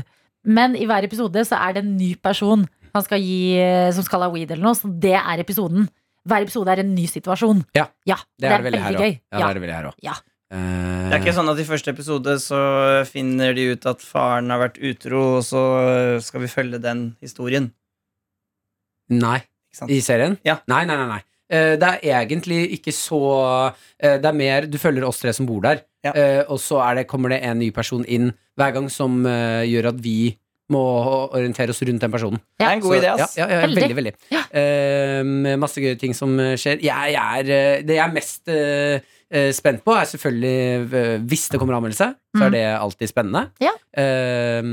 Speaker 2: Men i hver episode så er det en ny person han skal gi, eh, som skal ha weed eller noe. Så det er episoden. Hver episode er en ny situasjon.
Speaker 6: Ja,
Speaker 2: ja
Speaker 6: Det er det veldig her
Speaker 2: veldig
Speaker 6: òg.
Speaker 2: gøy.
Speaker 6: Ja, det er det veldig her også.
Speaker 2: Ja.
Speaker 6: Eh,
Speaker 3: Det er ikke sånn at i første episode så finner de ut at faren har vært utro, og så skal vi følge den historien.
Speaker 6: Nei.
Speaker 3: Ikke sant?
Speaker 6: I serien?
Speaker 3: Ja.
Speaker 6: Nei, nei, nei. nei. Eh, det er egentlig ikke så eh, Det er mer du følger oss tre som bor der,
Speaker 3: Ja.
Speaker 6: eh, og så er det, kommer det en ny person inn hver gang som eh, gjør at vi må orientere oss rundt den personen.
Speaker 3: Det er en god
Speaker 6: Så-
Speaker 3: idé, ass.
Speaker 6: Ja, ja, ja,
Speaker 2: Veldig.
Speaker 6: veldig, veldig.
Speaker 2: Ja.
Speaker 6: Eh, masse gøye ting som eh, skjer. Jeg, jeg er, eh, det jeg er mest eh, eh, spent på, er selvfølgelig eh, Hvis det kommer anmeldelse, så
Speaker 2: Mm.
Speaker 6: er det alltid spennende.
Speaker 2: Ja.
Speaker 6: Eh,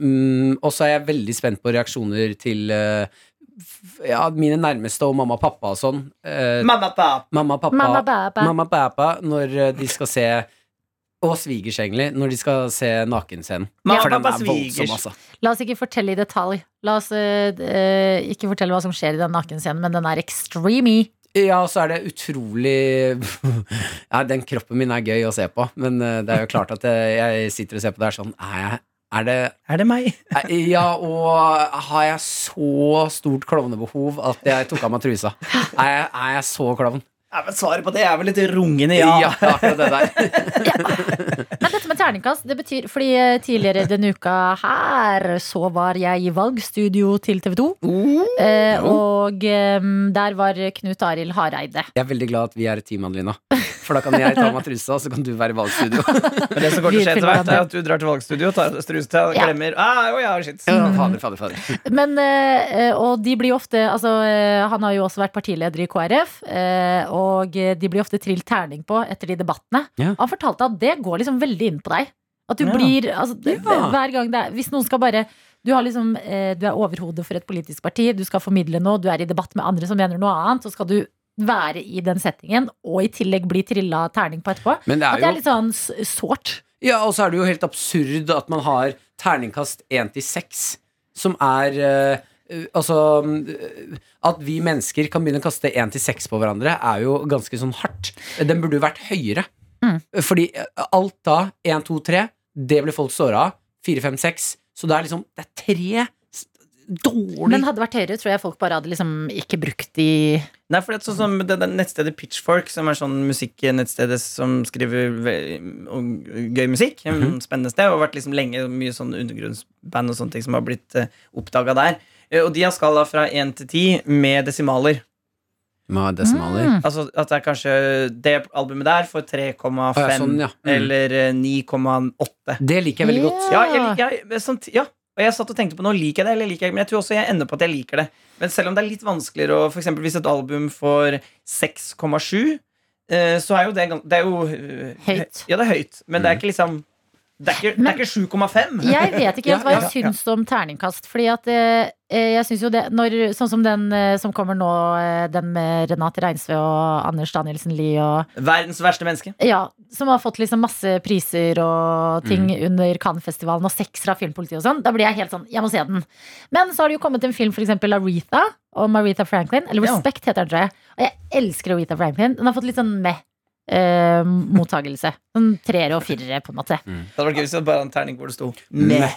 Speaker 6: mm, og så er jeg veldig spent på reaksjoner til eh, f- ja, mine nærmeste og mamma og pappa og sånn. Eh,
Speaker 3: Mamma, pap.
Speaker 6: mamma og pappa,
Speaker 2: Mamma, baba.
Speaker 6: mamma og pappa når eh, de skal se og svigers, egentlig, når de skal se nakenscenen.
Speaker 3: Mamma,
Speaker 6: For den
Speaker 3: pappa,
Speaker 6: er voldsom,
Speaker 3: svigers.
Speaker 6: altså.
Speaker 2: La oss ikke fortelle i detalj. La oss eh, d- eh, ikke fortelle hva som skjer i den nakenscenen, men den er extreme.
Speaker 6: Ja, og så er det utrolig ja, Den kroppen min er gøy å se på, men eh, det er jo klart at eh, jeg sitter og ser på det her sånn Er, jeg, er det
Speaker 3: Er det meg?
Speaker 6: er, Ja, og har jeg så stort klovnebehov at jeg tok av meg trusa? Er jeg, er jeg så klovn?
Speaker 3: Ja, men svaret på det er vel litt rungende ja.
Speaker 6: ja det er akkurat det der.
Speaker 2: Men dette med terningkast, det betyr Fordi eh, tidligere denne uka her så var jeg i valgstudio til TV 2. og eh, der var Knut Arild Hareide.
Speaker 6: Jeg er veldig glad at vi er et team, Adelina. For da kan jeg ta av meg trusa, og så kan du være i valgstudio.
Speaker 3: Men det som går til å skje etter hvert, er at du drar til valgstudio, tar av deg strusa og
Speaker 2: Ja.
Speaker 3: glemmer ah, oh, ja, shit.
Speaker 6: Fader, fader, fader.
Speaker 2: Men, eh, og de blir ofte altså, eh, Han har jo også vært partileder i KrF, eh, og de blir ofte trilt terning på etter de debattene.
Speaker 6: Ja.
Speaker 2: Han fortalte at det går liksom veldig inn på deg. At du
Speaker 3: Ja.
Speaker 2: blir altså, det-
Speaker 6: Ja.
Speaker 2: Hver gang det er Hvis noen skal bare du, har liksom, eh, du er overhodet for et politisk parti, du skal formidle noe, du er i debatt med andre som mener noe annet, så skal du være i den settingen, og i tillegg bli trilla terning på etterpå.
Speaker 6: Men det
Speaker 2: At det er
Speaker 6: er jo
Speaker 2: litt sånn s- sårt.
Speaker 6: Ja, og så er det jo helt absurd at man har terningkast 1 til 6, som er eh, eh, Altså eh, At vi mennesker kan begynne å kaste 1 til 6 på hverandre, er jo ganske sånn hardt. Den burde jo vært høyere.
Speaker 2: Mm.
Speaker 6: Fordi eh, alt da, 1, 2, 3, det blir folk såra av. 4, 5, 6. Så det er liksom Det er tre s-
Speaker 2: Men
Speaker 6: dårlige
Speaker 2: hadde det vært høyere, tror jeg folk bare hadde liksom ikke brukt de
Speaker 3: Nei, for det er sånn som det der nettstedet Pitchfork, som er sånn musikknettstedet som skriver ve- om gøy musikk. mm
Speaker 6: Mhm.
Speaker 3: Spennende sted. Og har vært liksom lenge mye sånn undergrunnsband og sånne ting som har blitt uh, oppdaga der. Eh, Og de har skala fra 1 til 10 med desimaler.
Speaker 6: Med desimaler.
Speaker 2: Mm.
Speaker 3: Altså at det er kanskje det albumet der får 3,5
Speaker 6: Å ja, sånn, ja. Mm.
Speaker 3: eller eh, 9,8.
Speaker 6: Det liker jeg veldig godt.
Speaker 3: Ja, jeg,
Speaker 2: Ah.
Speaker 3: lik- jeg, men samt- ja. Og jeg satt og tenkte på nå liker jeg det, eller liker jeg det? Men jeg tror også jeg ender på at jeg liker det. Men selv om det er litt vanskeligere å for eksempel hvis et album får 6,7, eh, så er jo det gan- Det er jo eh,
Speaker 2: Høyt.
Speaker 3: Ja, det er høyt. Men
Speaker 6: Mm.
Speaker 3: det er ikke liksom Det er ikke, det er ikke 7,5.
Speaker 2: Jeg vet ikke helt hva
Speaker 3: Ja,
Speaker 2: jeg
Speaker 3: ja, ja.
Speaker 2: syns om terningkast. Fordi at eh, eh, jeg syns jo det når, Sånn som den eh, som kommer nå, eh, den med Renate Reinsve og Anders Danielsen Lie og
Speaker 3: Verdens verste menneske.
Speaker 2: Ja, som har fått liksom masse priser og ting
Speaker 3: Mm.
Speaker 2: under Cannes-festivalen og sekser av Filmpolitiet og sånn. Da blir jeg helt sånn Jeg må se den. Men så har det jo kommet en film, for eksempel Aretha og Aretha Franklin. Eller
Speaker 3: Ja.
Speaker 2: Respect heter den, tror jeg. Og jeg elsker Aretha Franklin. Den har fått litt sånn meh. eh, mottagelse. Sånn treere og firere, på en måte.
Speaker 3: Det hadde vært gøy hvis det bare var en terning hvor det sto
Speaker 6: Meh.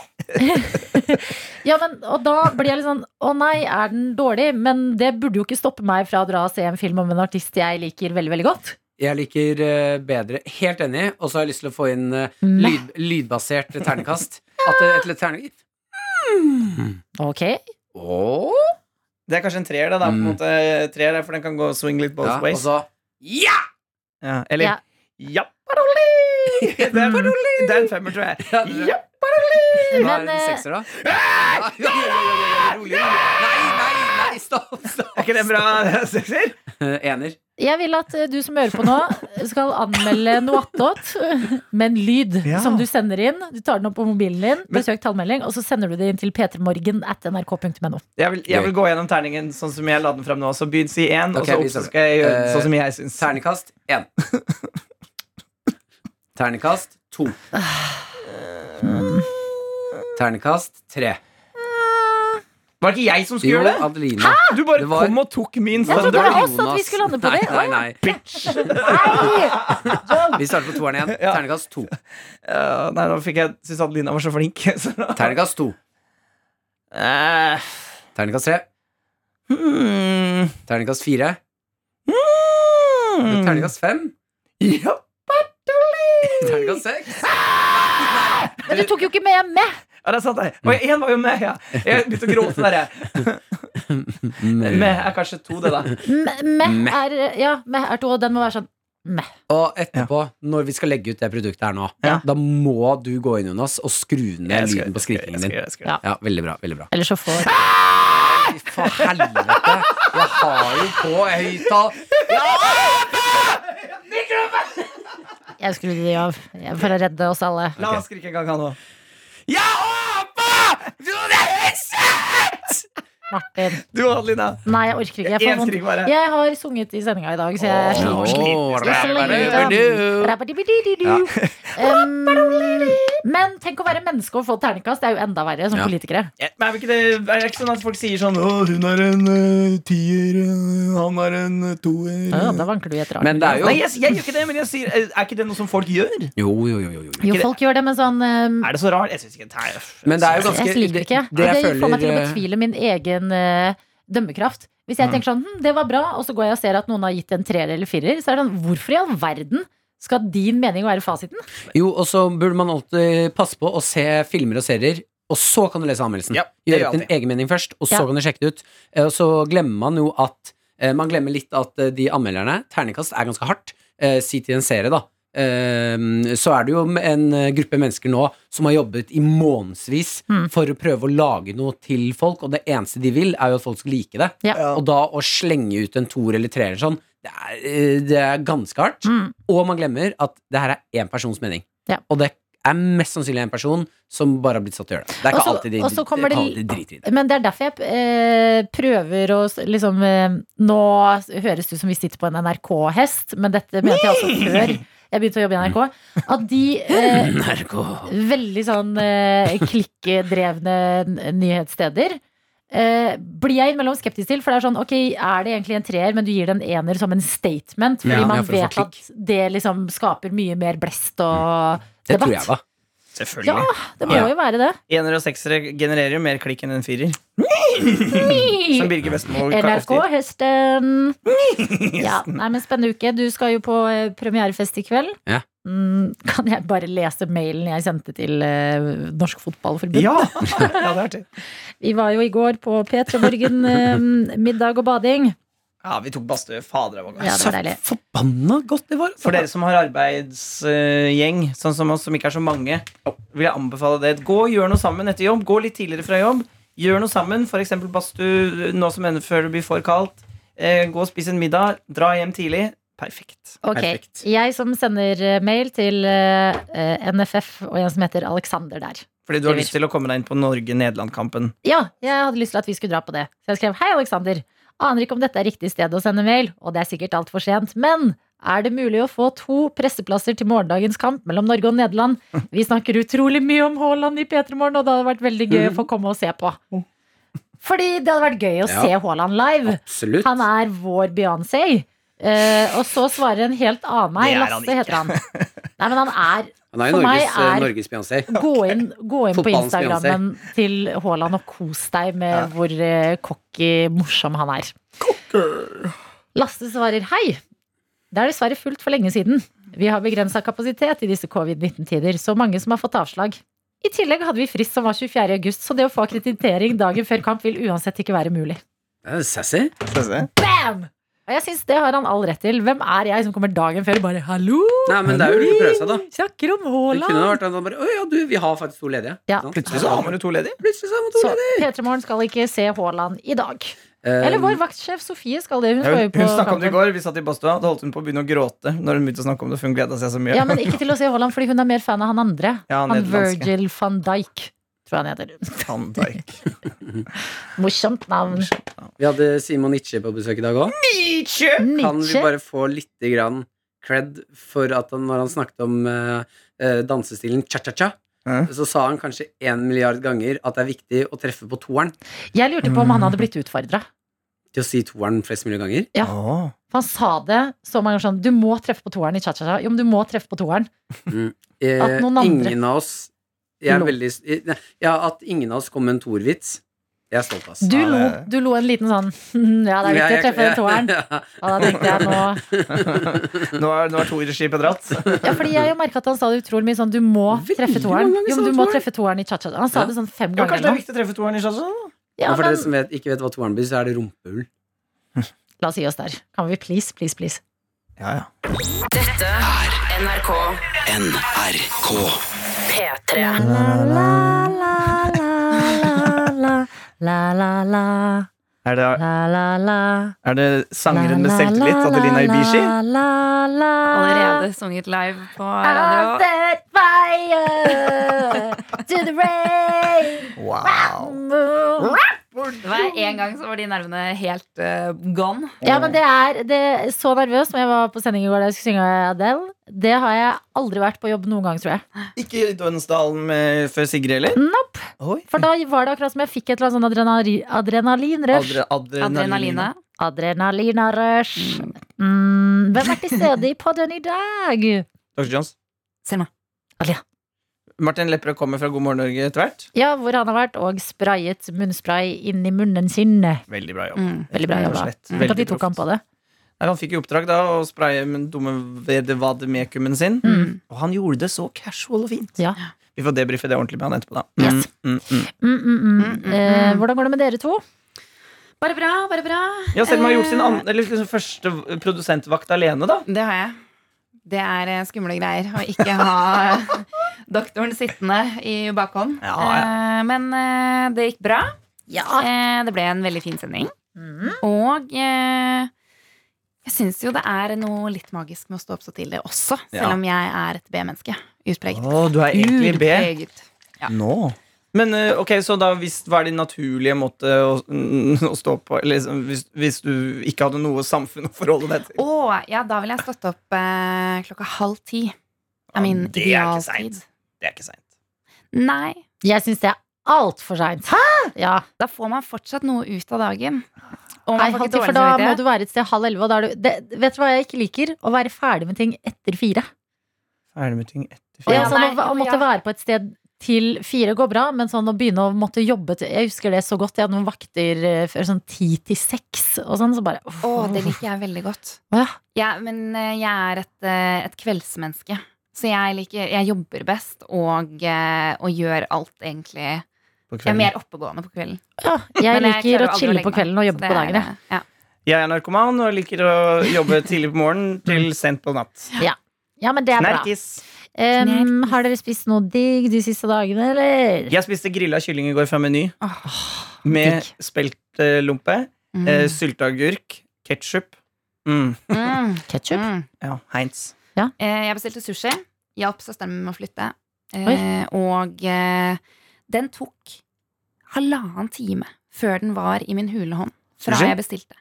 Speaker 2: Ja, men, og da blir jeg litt sånn Å nei, er den dårlig? Men det burde jo ikke stoppe meg fra å dra og se en film om en artist jeg liker veldig, veldig godt.
Speaker 6: Jeg liker eh, bedre Helt enig. Og så har jeg lyst til å få inn eh,
Speaker 2: Meh.
Speaker 6: lyd, lydbasert ternekast. At det, et, et terning,
Speaker 2: Ok.
Speaker 6: Åh,
Speaker 3: Det er kanskje en treer, det, da. På en
Speaker 6: Mm.
Speaker 3: måte eh, treer der, for den kan gå swing litt both
Speaker 6: ja, altså- og
Speaker 3: ways.
Speaker 6: så Ja!
Speaker 3: Ja, eller
Speaker 2: Ja.
Speaker 3: Japparoli! Det er det er en femmer, tror jeg.
Speaker 6: Mm. Ja, det-
Speaker 3: Japp.
Speaker 6: Hva er
Speaker 2: Men
Speaker 6: det en
Speaker 2: eh,
Speaker 6: sekser, da? Ja, ja, ja, ja, ja, ja, Rolig, rolig. Nei, nei, nei, stopp,
Speaker 3: Er
Speaker 6: stopp.
Speaker 3: ikke det bra sekser?
Speaker 6: Eh, Ener.
Speaker 2: jeg vil at eh, du som hører på nå, skal anmelde noe attåt med en lyd
Speaker 3: Ja.
Speaker 2: som du sender inn. Du tar den opp på mobilen din,
Speaker 3: Men-
Speaker 2: besøk tallmelding, og så sender du det inn til p3morgen at nrk.no.
Speaker 3: Jeg vil, jeg
Speaker 6: Gøy.
Speaker 3: vil gå gjennom terningen sånn som jeg la den fram nå. Så begynn si én,
Speaker 6: Ok,
Speaker 3: og
Speaker 6: vi stemmer.
Speaker 3: så opp, så skal jeg gjøre
Speaker 6: Eh,
Speaker 3: sånn som jeg syns.
Speaker 6: Ternekast én. Ternekast to. Ternekast tre.
Speaker 3: Var det ikke jeg som skulle
Speaker 6: Jo,
Speaker 3: gjøre det?
Speaker 6: Adeline.
Speaker 3: Du bare
Speaker 6: Det var-
Speaker 3: kom og tok min
Speaker 2: Jeg trodde
Speaker 3: standard.
Speaker 2: det var oss at vi skulle lande på
Speaker 6: Nei,
Speaker 2: det.
Speaker 6: Nei, nei,
Speaker 2: Nei!
Speaker 6: Vi starter på toeren igjen.
Speaker 3: Ja.
Speaker 6: Ternekast to.
Speaker 3: Ja, nei, nå fikk jeg synes Adelina var så flink. Så da.
Speaker 6: Ternekast to.
Speaker 3: Eh,
Speaker 6: Ternekast tre.
Speaker 3: hmm.
Speaker 6: Ternekast fire.
Speaker 3: Hmm.
Speaker 6: Ternekast fem.
Speaker 3: Ja.
Speaker 6: Ternekast seks.
Speaker 2: Men du tok jo ikke med E. med!
Speaker 3: Ja, der satt jeg. Og én var jo med, ja. Jeg begynte å gråte der, jeg. Med er kanskje to, det, da.
Speaker 2: Meh
Speaker 6: Meh.
Speaker 3: E.
Speaker 2: meh E er, ja, meh er to, og den må være sånn meh.
Speaker 6: Og etterpå, når vi skal legge ut det produktet her nå,
Speaker 3: Ja.
Speaker 6: da må du gå inn, Jonas, og skru ned
Speaker 3: Jeg skal-
Speaker 6: lyden på skrikingen
Speaker 3: jeg skal
Speaker 6: din.
Speaker 3: gjøre det, jeg skal
Speaker 2: Ja.
Speaker 3: gjøre
Speaker 6: Ja, veldig bra. veldig bra
Speaker 2: Eller så får
Speaker 6: Fy faen, helvete! Jeg har jo på høyttal
Speaker 2: Jeg skrudde de av jeg- for å redde oss alle.
Speaker 3: det. La oss skrike en gang, han òg.
Speaker 6: Jeg håper du er sett!
Speaker 2: Martin.
Speaker 3: Du, Adelina.
Speaker 2: Nei, jeg orker ikke. Jeg,
Speaker 3: Én
Speaker 2: får vondt.
Speaker 3: skrik bare.
Speaker 2: jeg har sunget i sendinga i dag, så jeg er
Speaker 6: Åh,
Speaker 2: så
Speaker 6: rabba-dabba-du.
Speaker 2: sliten.
Speaker 6: Ja.
Speaker 2: Um, men tenk å være menneske og få terningkast. Det er jo enda verre som
Speaker 6: Ja.
Speaker 2: politikere.
Speaker 3: Ja, Men er det ikke, det, er det ikke sånn at folk sier sånn Å, hun er en eh, tier, eh, han er en eh, toer
Speaker 2: Ja, da vanker du i et rart.
Speaker 6: Mm. Men det er jo
Speaker 3: Nei, jeg, jeg gjør ikke det, men jeg sier eh, Er ikke det noe som folk gjør?
Speaker 6: Jo, jo, jo. jo, jo.
Speaker 2: Jo, folk gjør det, men sånn um,
Speaker 3: Er det så rart? Jeg synes ikke det er
Speaker 6: Men det er jo ganske
Speaker 2: Jeg liker det ikke.
Speaker 6: Det
Speaker 2: Og
Speaker 6: jeg
Speaker 2: det får meg til å
Speaker 6: føler, eh, Mm.
Speaker 2: betvile min egen eh, dømmekraft. Hvis jeg tenker sånn, hm, det var bra, og så går jeg og ser at noen har gitt en treer eller firer, så er det sånn, hvorfor i all verden skal din mening være fasiten?
Speaker 6: Jo, og så burde man alltid passe på å se filmer og serier, og så kan du lese anmeldelsen.
Speaker 3: Ja, det gjør
Speaker 6: Gjøre
Speaker 3: jeg
Speaker 6: din egen mening først, og så
Speaker 2: Ja.
Speaker 6: kan du sjekke det ut. Eh, Og så glemmer man jo at eh, Man glemmer litt at eh, de anmelderne Terningkast er ganske hardt. eh, si til en serie, da. eh, så er det jo en eh, gruppe mennesker nå som har jobbet i månedsvis
Speaker 2: Mm.
Speaker 6: for å prøve å lage noe til folk, og det eneste de vil, er jo at folk skal like det.
Speaker 2: Ja.
Speaker 6: Og da å slenge ut en toer eller treer sånn, det er, eh, det er ganske hardt.
Speaker 2: Mm.
Speaker 6: Og man glemmer at det her er én persons mening.
Speaker 2: Ja.
Speaker 6: Og det er mest sannsynlig en person som bare har blitt satt til å gjøre det. Det er ikke
Speaker 2: Og så-
Speaker 6: alltid de,
Speaker 2: og så kommer det-
Speaker 6: alltid de driter i det.
Speaker 2: Men det er derfor jeg eh, prøver å s- liksom eh, Nå høres det ut som vi sitter på en NRK-hest, men dette mente jeg også før jeg begynte å jobbe i NRK. At de eh, veldig sånn eh, klikkedrevne n- nyhetssteder eh, blir jeg innimellom skeptisk til. For det er sånn, ok, er det egentlig en treer, men du gir det en ener som en statement? Fordi
Speaker 6: Ja, ja,
Speaker 2: man
Speaker 6: for sånn å
Speaker 2: vet
Speaker 6: få
Speaker 2: at det liksom skaper mye mer blest og
Speaker 6: Mm. Det
Speaker 2: debatt.
Speaker 6: tror jeg, da.
Speaker 3: Selvfølgelig.
Speaker 2: Ja, det må
Speaker 6: Ja.
Speaker 2: jo være det.
Speaker 3: Ener og seksere genererer jo mer klikk enn en firer.
Speaker 6: Mm.
Speaker 3: Som Birger Vestmo ofte
Speaker 2: NRK-hesten. Ja, nei, men Spennende uke. Du skal jo på eh, premierefest i kveld.
Speaker 6: Ja.
Speaker 2: Mm, Kan jeg bare lese mailen jeg sendte til eh, Norsk Fotballforbund?
Speaker 3: gir. Ja! ja, det er artig.
Speaker 2: Vi var jo i går på P3 Morgen eh, middag og bading.
Speaker 3: Ja, vi tok badstue. Fader, det var godt.
Speaker 2: Ja, det var deilig.
Speaker 6: Forbanna godt det var.
Speaker 3: For dere som har arbeidsgjeng, sånn som oss som ikke er så mange, vil jeg anbefale det. Gå og gjør noe sammen etter jobb. Gå litt tidligere fra jobb. Gjør noe sammen. F.eks. badstue nå som ender før det blir for kaldt. Eh, gå og spis en middag. Dra hjem tidlig. Perfekt.
Speaker 2: Ok,
Speaker 6: Perfekt.
Speaker 2: Jeg som sender eh, mail til eh, eh, NFF og en som heter Alexander der.
Speaker 3: Fordi du har lyst til å komme deg inn på Norge-Nederland-kampen.
Speaker 2: Ja, jeg hadde lyst til at vi skulle dra på det. Så jeg skrev 'Hei, Alexander. Aner ikke om dette er riktig sted å sende mail, og det er sikkert altfor sent, men er det mulig å få to presseplasser til morgendagens kamp mellom Norge og Nederland? Vi snakker utrolig mye om Haaland i P3 Morgen, og det hadde vært veldig gøy å få komme og se på. Fordi det hadde vært gøy å
Speaker 6: Ja.
Speaker 2: se Haaland live.
Speaker 6: Absolutt.
Speaker 2: Han er vår Beyoncé. Eh, og så svarer en helt annen meg.
Speaker 3: Det er han
Speaker 2: Lasse heter han. Nei, men han er
Speaker 6: Han er jo
Speaker 2: For meg
Speaker 6: Norges, eh,
Speaker 2: er-
Speaker 6: Norges Beyoncé.
Speaker 2: Gå inn, gå inn på
Speaker 6: Fotballens
Speaker 2: Instagrammen til Haaland og kos deg med hvor eh, cocky morsom han er. Lasse svarer hei. Det er dessverre fullt for lenge siden. Vi har begrensa kapasitet i disse covid-19-tider, så mange som har fått avslag. I tillegg hadde vi frist som var 24. august, så det å få akkreditering dagen før kamp vil uansett ikke være mulig.
Speaker 6: Det er Sassy.
Speaker 2: Bam! Og jeg synes det har han all rett til. Hvem er jeg som kommer dagen før og bare 'hallo,
Speaker 6: Nei, men det er jo litt å prøve seg, da.
Speaker 2: snakker om
Speaker 6: Det kunne
Speaker 2: Haaland'?
Speaker 6: vært at han bare Å ja, du, vi har faktisk to ledige.
Speaker 2: Ja.
Speaker 6: Sant?
Speaker 3: Plutselig så har man jo to ledige.
Speaker 6: Plutselig så har man to
Speaker 2: Så
Speaker 6: ledige.
Speaker 2: P3 Morgen skal ikke se Haaland i dag.
Speaker 6: Eh,
Speaker 2: Eller vår vaktsjef Sofie skal det. Hun
Speaker 3: Hun,
Speaker 2: skal jo på
Speaker 3: hun snakka om det i
Speaker 2: kampen.
Speaker 3: går. Vi satt i badstua, da holdt hun på å begynne å gråte når hun begynte å snakke om det. For hun gleda seg så mye.
Speaker 2: Ja, men ikke til å se Haaland, fordi hun er mer fan av han andre.
Speaker 3: Ja,
Speaker 2: han
Speaker 3: nederlandske.
Speaker 2: Virgil van Dijk, tror jeg han heter.
Speaker 3: Van Dijk.
Speaker 2: Morsomt navn.
Speaker 6: Vi hadde Simon Nietzsche på besøk i dag òg. Kan vi
Speaker 2: Nietzsche.
Speaker 6: bare få litt grann cred for at han, når han snakket om eh, eh, dansestilen cha-cha-cha,
Speaker 3: Ja.
Speaker 6: så sa han kanskje én milliard ganger at det er viktig å treffe på toeren.
Speaker 2: Jeg lurte på om han hadde blitt utfordra.
Speaker 6: Til å si toeren flest mulig ganger.
Speaker 2: Ja.
Speaker 3: Åh.
Speaker 2: For han sa det så mange ganger sånn Du må treffe på toeren i cha-cha-cha. Jo, men du må treffe på toeren.
Speaker 6: Eh,
Speaker 2: At noen andre-
Speaker 6: Ingen av oss jeg er
Speaker 2: Lo.
Speaker 6: veldig, eh, Ja, at ingen av oss kom med en toervits. Jeg er stolt, ass.
Speaker 2: Du
Speaker 3: Ja, det-
Speaker 2: lo, du lo en liten sånn Ja, det er viktig å treffe den toeren. Ja, da tenkte jeg nå
Speaker 3: Nå er, nå er Tore-skipet dratt.
Speaker 2: Ja, fordi jeg har merka at han sa det utrolig mye sånn Du må
Speaker 6: Veldig
Speaker 2: treffe toeren.
Speaker 6: mange ganger
Speaker 2: Jo,
Speaker 6: sa
Speaker 2: men du må
Speaker 6: han toeren.
Speaker 2: treffe toeren i cha-cha. Han sa
Speaker 6: Ja.
Speaker 2: det sånn fem
Speaker 3: Ja, kanskje det
Speaker 2: ganger
Speaker 3: er
Speaker 2: nå.
Speaker 3: viktig å treffe toeren i Shazam?
Speaker 2: Ja,
Speaker 6: for
Speaker 2: men
Speaker 6: dere som vet, ikke vet hva toeren blir, så er det rumpehull.
Speaker 2: la oss gi oss der. Kan vi please, please, please?
Speaker 3: Ja, ja.
Speaker 8: NRK. P3.
Speaker 2: La-la-la
Speaker 3: Er det, er det sangeren med selvtillit, Adelina Ibishi?
Speaker 8: Allerede sunget live på radio.
Speaker 2: I'll set fire to the rain.
Speaker 3: Wow.
Speaker 8: Det var en gang så var de nervene helt eh, gone.
Speaker 2: Ja, men det er det, er så nervøs når jeg var på sending i går da jeg skulle synge Adele. Det har jeg aldri vært på jobb noen gang, tror jeg.
Speaker 3: Ikke i Dønsdalen med, før Sigrid, eller?
Speaker 2: Nope.
Speaker 3: Oi.
Speaker 2: For da var det akkurat som jeg fikk et eller annet sånn adrenali- adrenalinrush.
Speaker 3: Adre, adrenalin.
Speaker 8: Adrenalina.
Speaker 2: Adrenalinarush. Mm, hvem er til stede i podden i dag?
Speaker 3: Dr. Jones.
Speaker 8: Selma.
Speaker 2: Alia.
Speaker 3: Martin Lepperød kommer fra God morgen Norge etter hvert.
Speaker 2: Ja, hvor han har vært og sprayet munnspray inn i munnen sin.
Speaker 3: Veldig bra jobb.
Speaker 8: Mm.
Speaker 2: Veldig bra
Speaker 3: Rett og
Speaker 2: jobba.
Speaker 3: slett.
Speaker 2: Tenk at de
Speaker 3: Veldig
Speaker 2: tok han
Speaker 3: proft.
Speaker 2: på det.
Speaker 3: Nei, Han fikk i oppdrag da å spraye med dumme vedevademekumen sin.
Speaker 2: Mm.
Speaker 3: Og han gjorde det så casual og fint.
Speaker 2: Ja.
Speaker 3: Vi får debrife det ordentlig med han etterpå, da.
Speaker 2: Yes.
Speaker 3: Mm, mm,
Speaker 2: Mm,
Speaker 3: mm.
Speaker 2: mm, mm.
Speaker 8: Mm, mm,
Speaker 2: Eh,
Speaker 8: mm.
Speaker 2: hvordan går det med dere to?
Speaker 8: Bare bra, bare bra.
Speaker 3: Ja, Selma har gjort sin
Speaker 8: Eh,
Speaker 3: an eller, liksom, første produsentvakt alene, da.
Speaker 8: Det har jeg. Det er eh, skumle greier å ikke ha doktoren sittende i bakhånd. Eh, Men eh, det gikk bra. Eh, Det ble en veldig fin sending. Mm. Og eh, jeg syns jo det er noe litt magisk med å stå opp så tidlig også, selv om jeg er et B-menneske. Utpreget.
Speaker 3: Å, du er egentlig B.
Speaker 8: Utpreget.
Speaker 6: Nå?
Speaker 3: Men eh, ok, så da hvis, hva er din naturlige måte å, å stå på eller liksom, hvis, hvis du ikke hadde noe samfunn å forholde deg til?
Speaker 8: Å, ja, da vil jeg stått opp eh, klokka halv ti.
Speaker 3: Ja,
Speaker 8: Er min
Speaker 3: det er ikke
Speaker 8: idealtid.
Speaker 3: seint. Det er ikke seint.
Speaker 8: Nei.
Speaker 2: Jeg syns det er altfor seint. Ja.
Speaker 8: Da får man fortsatt noe ut av dagen. Og man
Speaker 2: Nei,
Speaker 8: får ikke
Speaker 2: halv ti,
Speaker 8: dårlig
Speaker 2: for da må
Speaker 8: samvittighet.
Speaker 2: du være et sted halv elleve. Og da er du, det, vet du hva jeg ikke liker? Å være ferdig med ting etter fire.
Speaker 3: Ferdig med ting etter
Speaker 2: Ja,
Speaker 3: fire.
Speaker 8: Ja,
Speaker 2: sånn,
Speaker 8: nei,
Speaker 2: å, å
Speaker 8: jo,
Speaker 2: måtte
Speaker 8: ja.
Speaker 2: være på et sted til fire går bra, men sånn å begynne å måtte jobbe til Jeg husker det så godt. Jeg hadde noen vakter eh, før sånn ti til seks og sånn. Så bare uff.
Speaker 8: Å, det liker jeg veldig godt.
Speaker 2: Ja.
Speaker 8: Ja, men eh, jeg er et, eh, et kveldsmenneske. Så jeg, liker, jeg jobber best og, eh, og gjør alt, egentlig.
Speaker 3: på
Speaker 8: Jeg er
Speaker 3: kvelden.
Speaker 8: mer oppegående på kvelden.
Speaker 2: Ja, jeg
Speaker 8: Men
Speaker 2: liker
Speaker 8: klarer
Speaker 2: å
Speaker 8: aldri
Speaker 2: chille
Speaker 8: legge
Speaker 2: på
Speaker 8: meg,
Speaker 2: kvelden og
Speaker 8: så
Speaker 2: jobbe
Speaker 8: det
Speaker 2: på
Speaker 8: er,
Speaker 2: dagen. jeg.
Speaker 8: eh, Ja.
Speaker 3: Jeg er narkoman og liker å jobbe tidlig på morgenen til sent på natt.
Speaker 2: Ja, men det er bra.
Speaker 3: Nerkis.
Speaker 2: Em, har dere spist noe digg de siste dagene, eller?
Speaker 3: Jeg spiste grilla kylling i går fra Meny. Med
Speaker 2: digg.
Speaker 3: speltlompe,
Speaker 8: Mm.
Speaker 3: eh, sylteagurk, ketsjup. Mm.
Speaker 8: Mm.
Speaker 2: Ketchup?
Speaker 8: Mm.
Speaker 3: Ja, Heinz.
Speaker 8: Eh, jeg bestilte sushi. Hjalp søsteren min med å flytte.
Speaker 2: Oi.
Speaker 8: Eh, og eh, den tok halvannen time før den var i min hulehånd. Fra
Speaker 3: Sushi?
Speaker 8: jeg bestilte.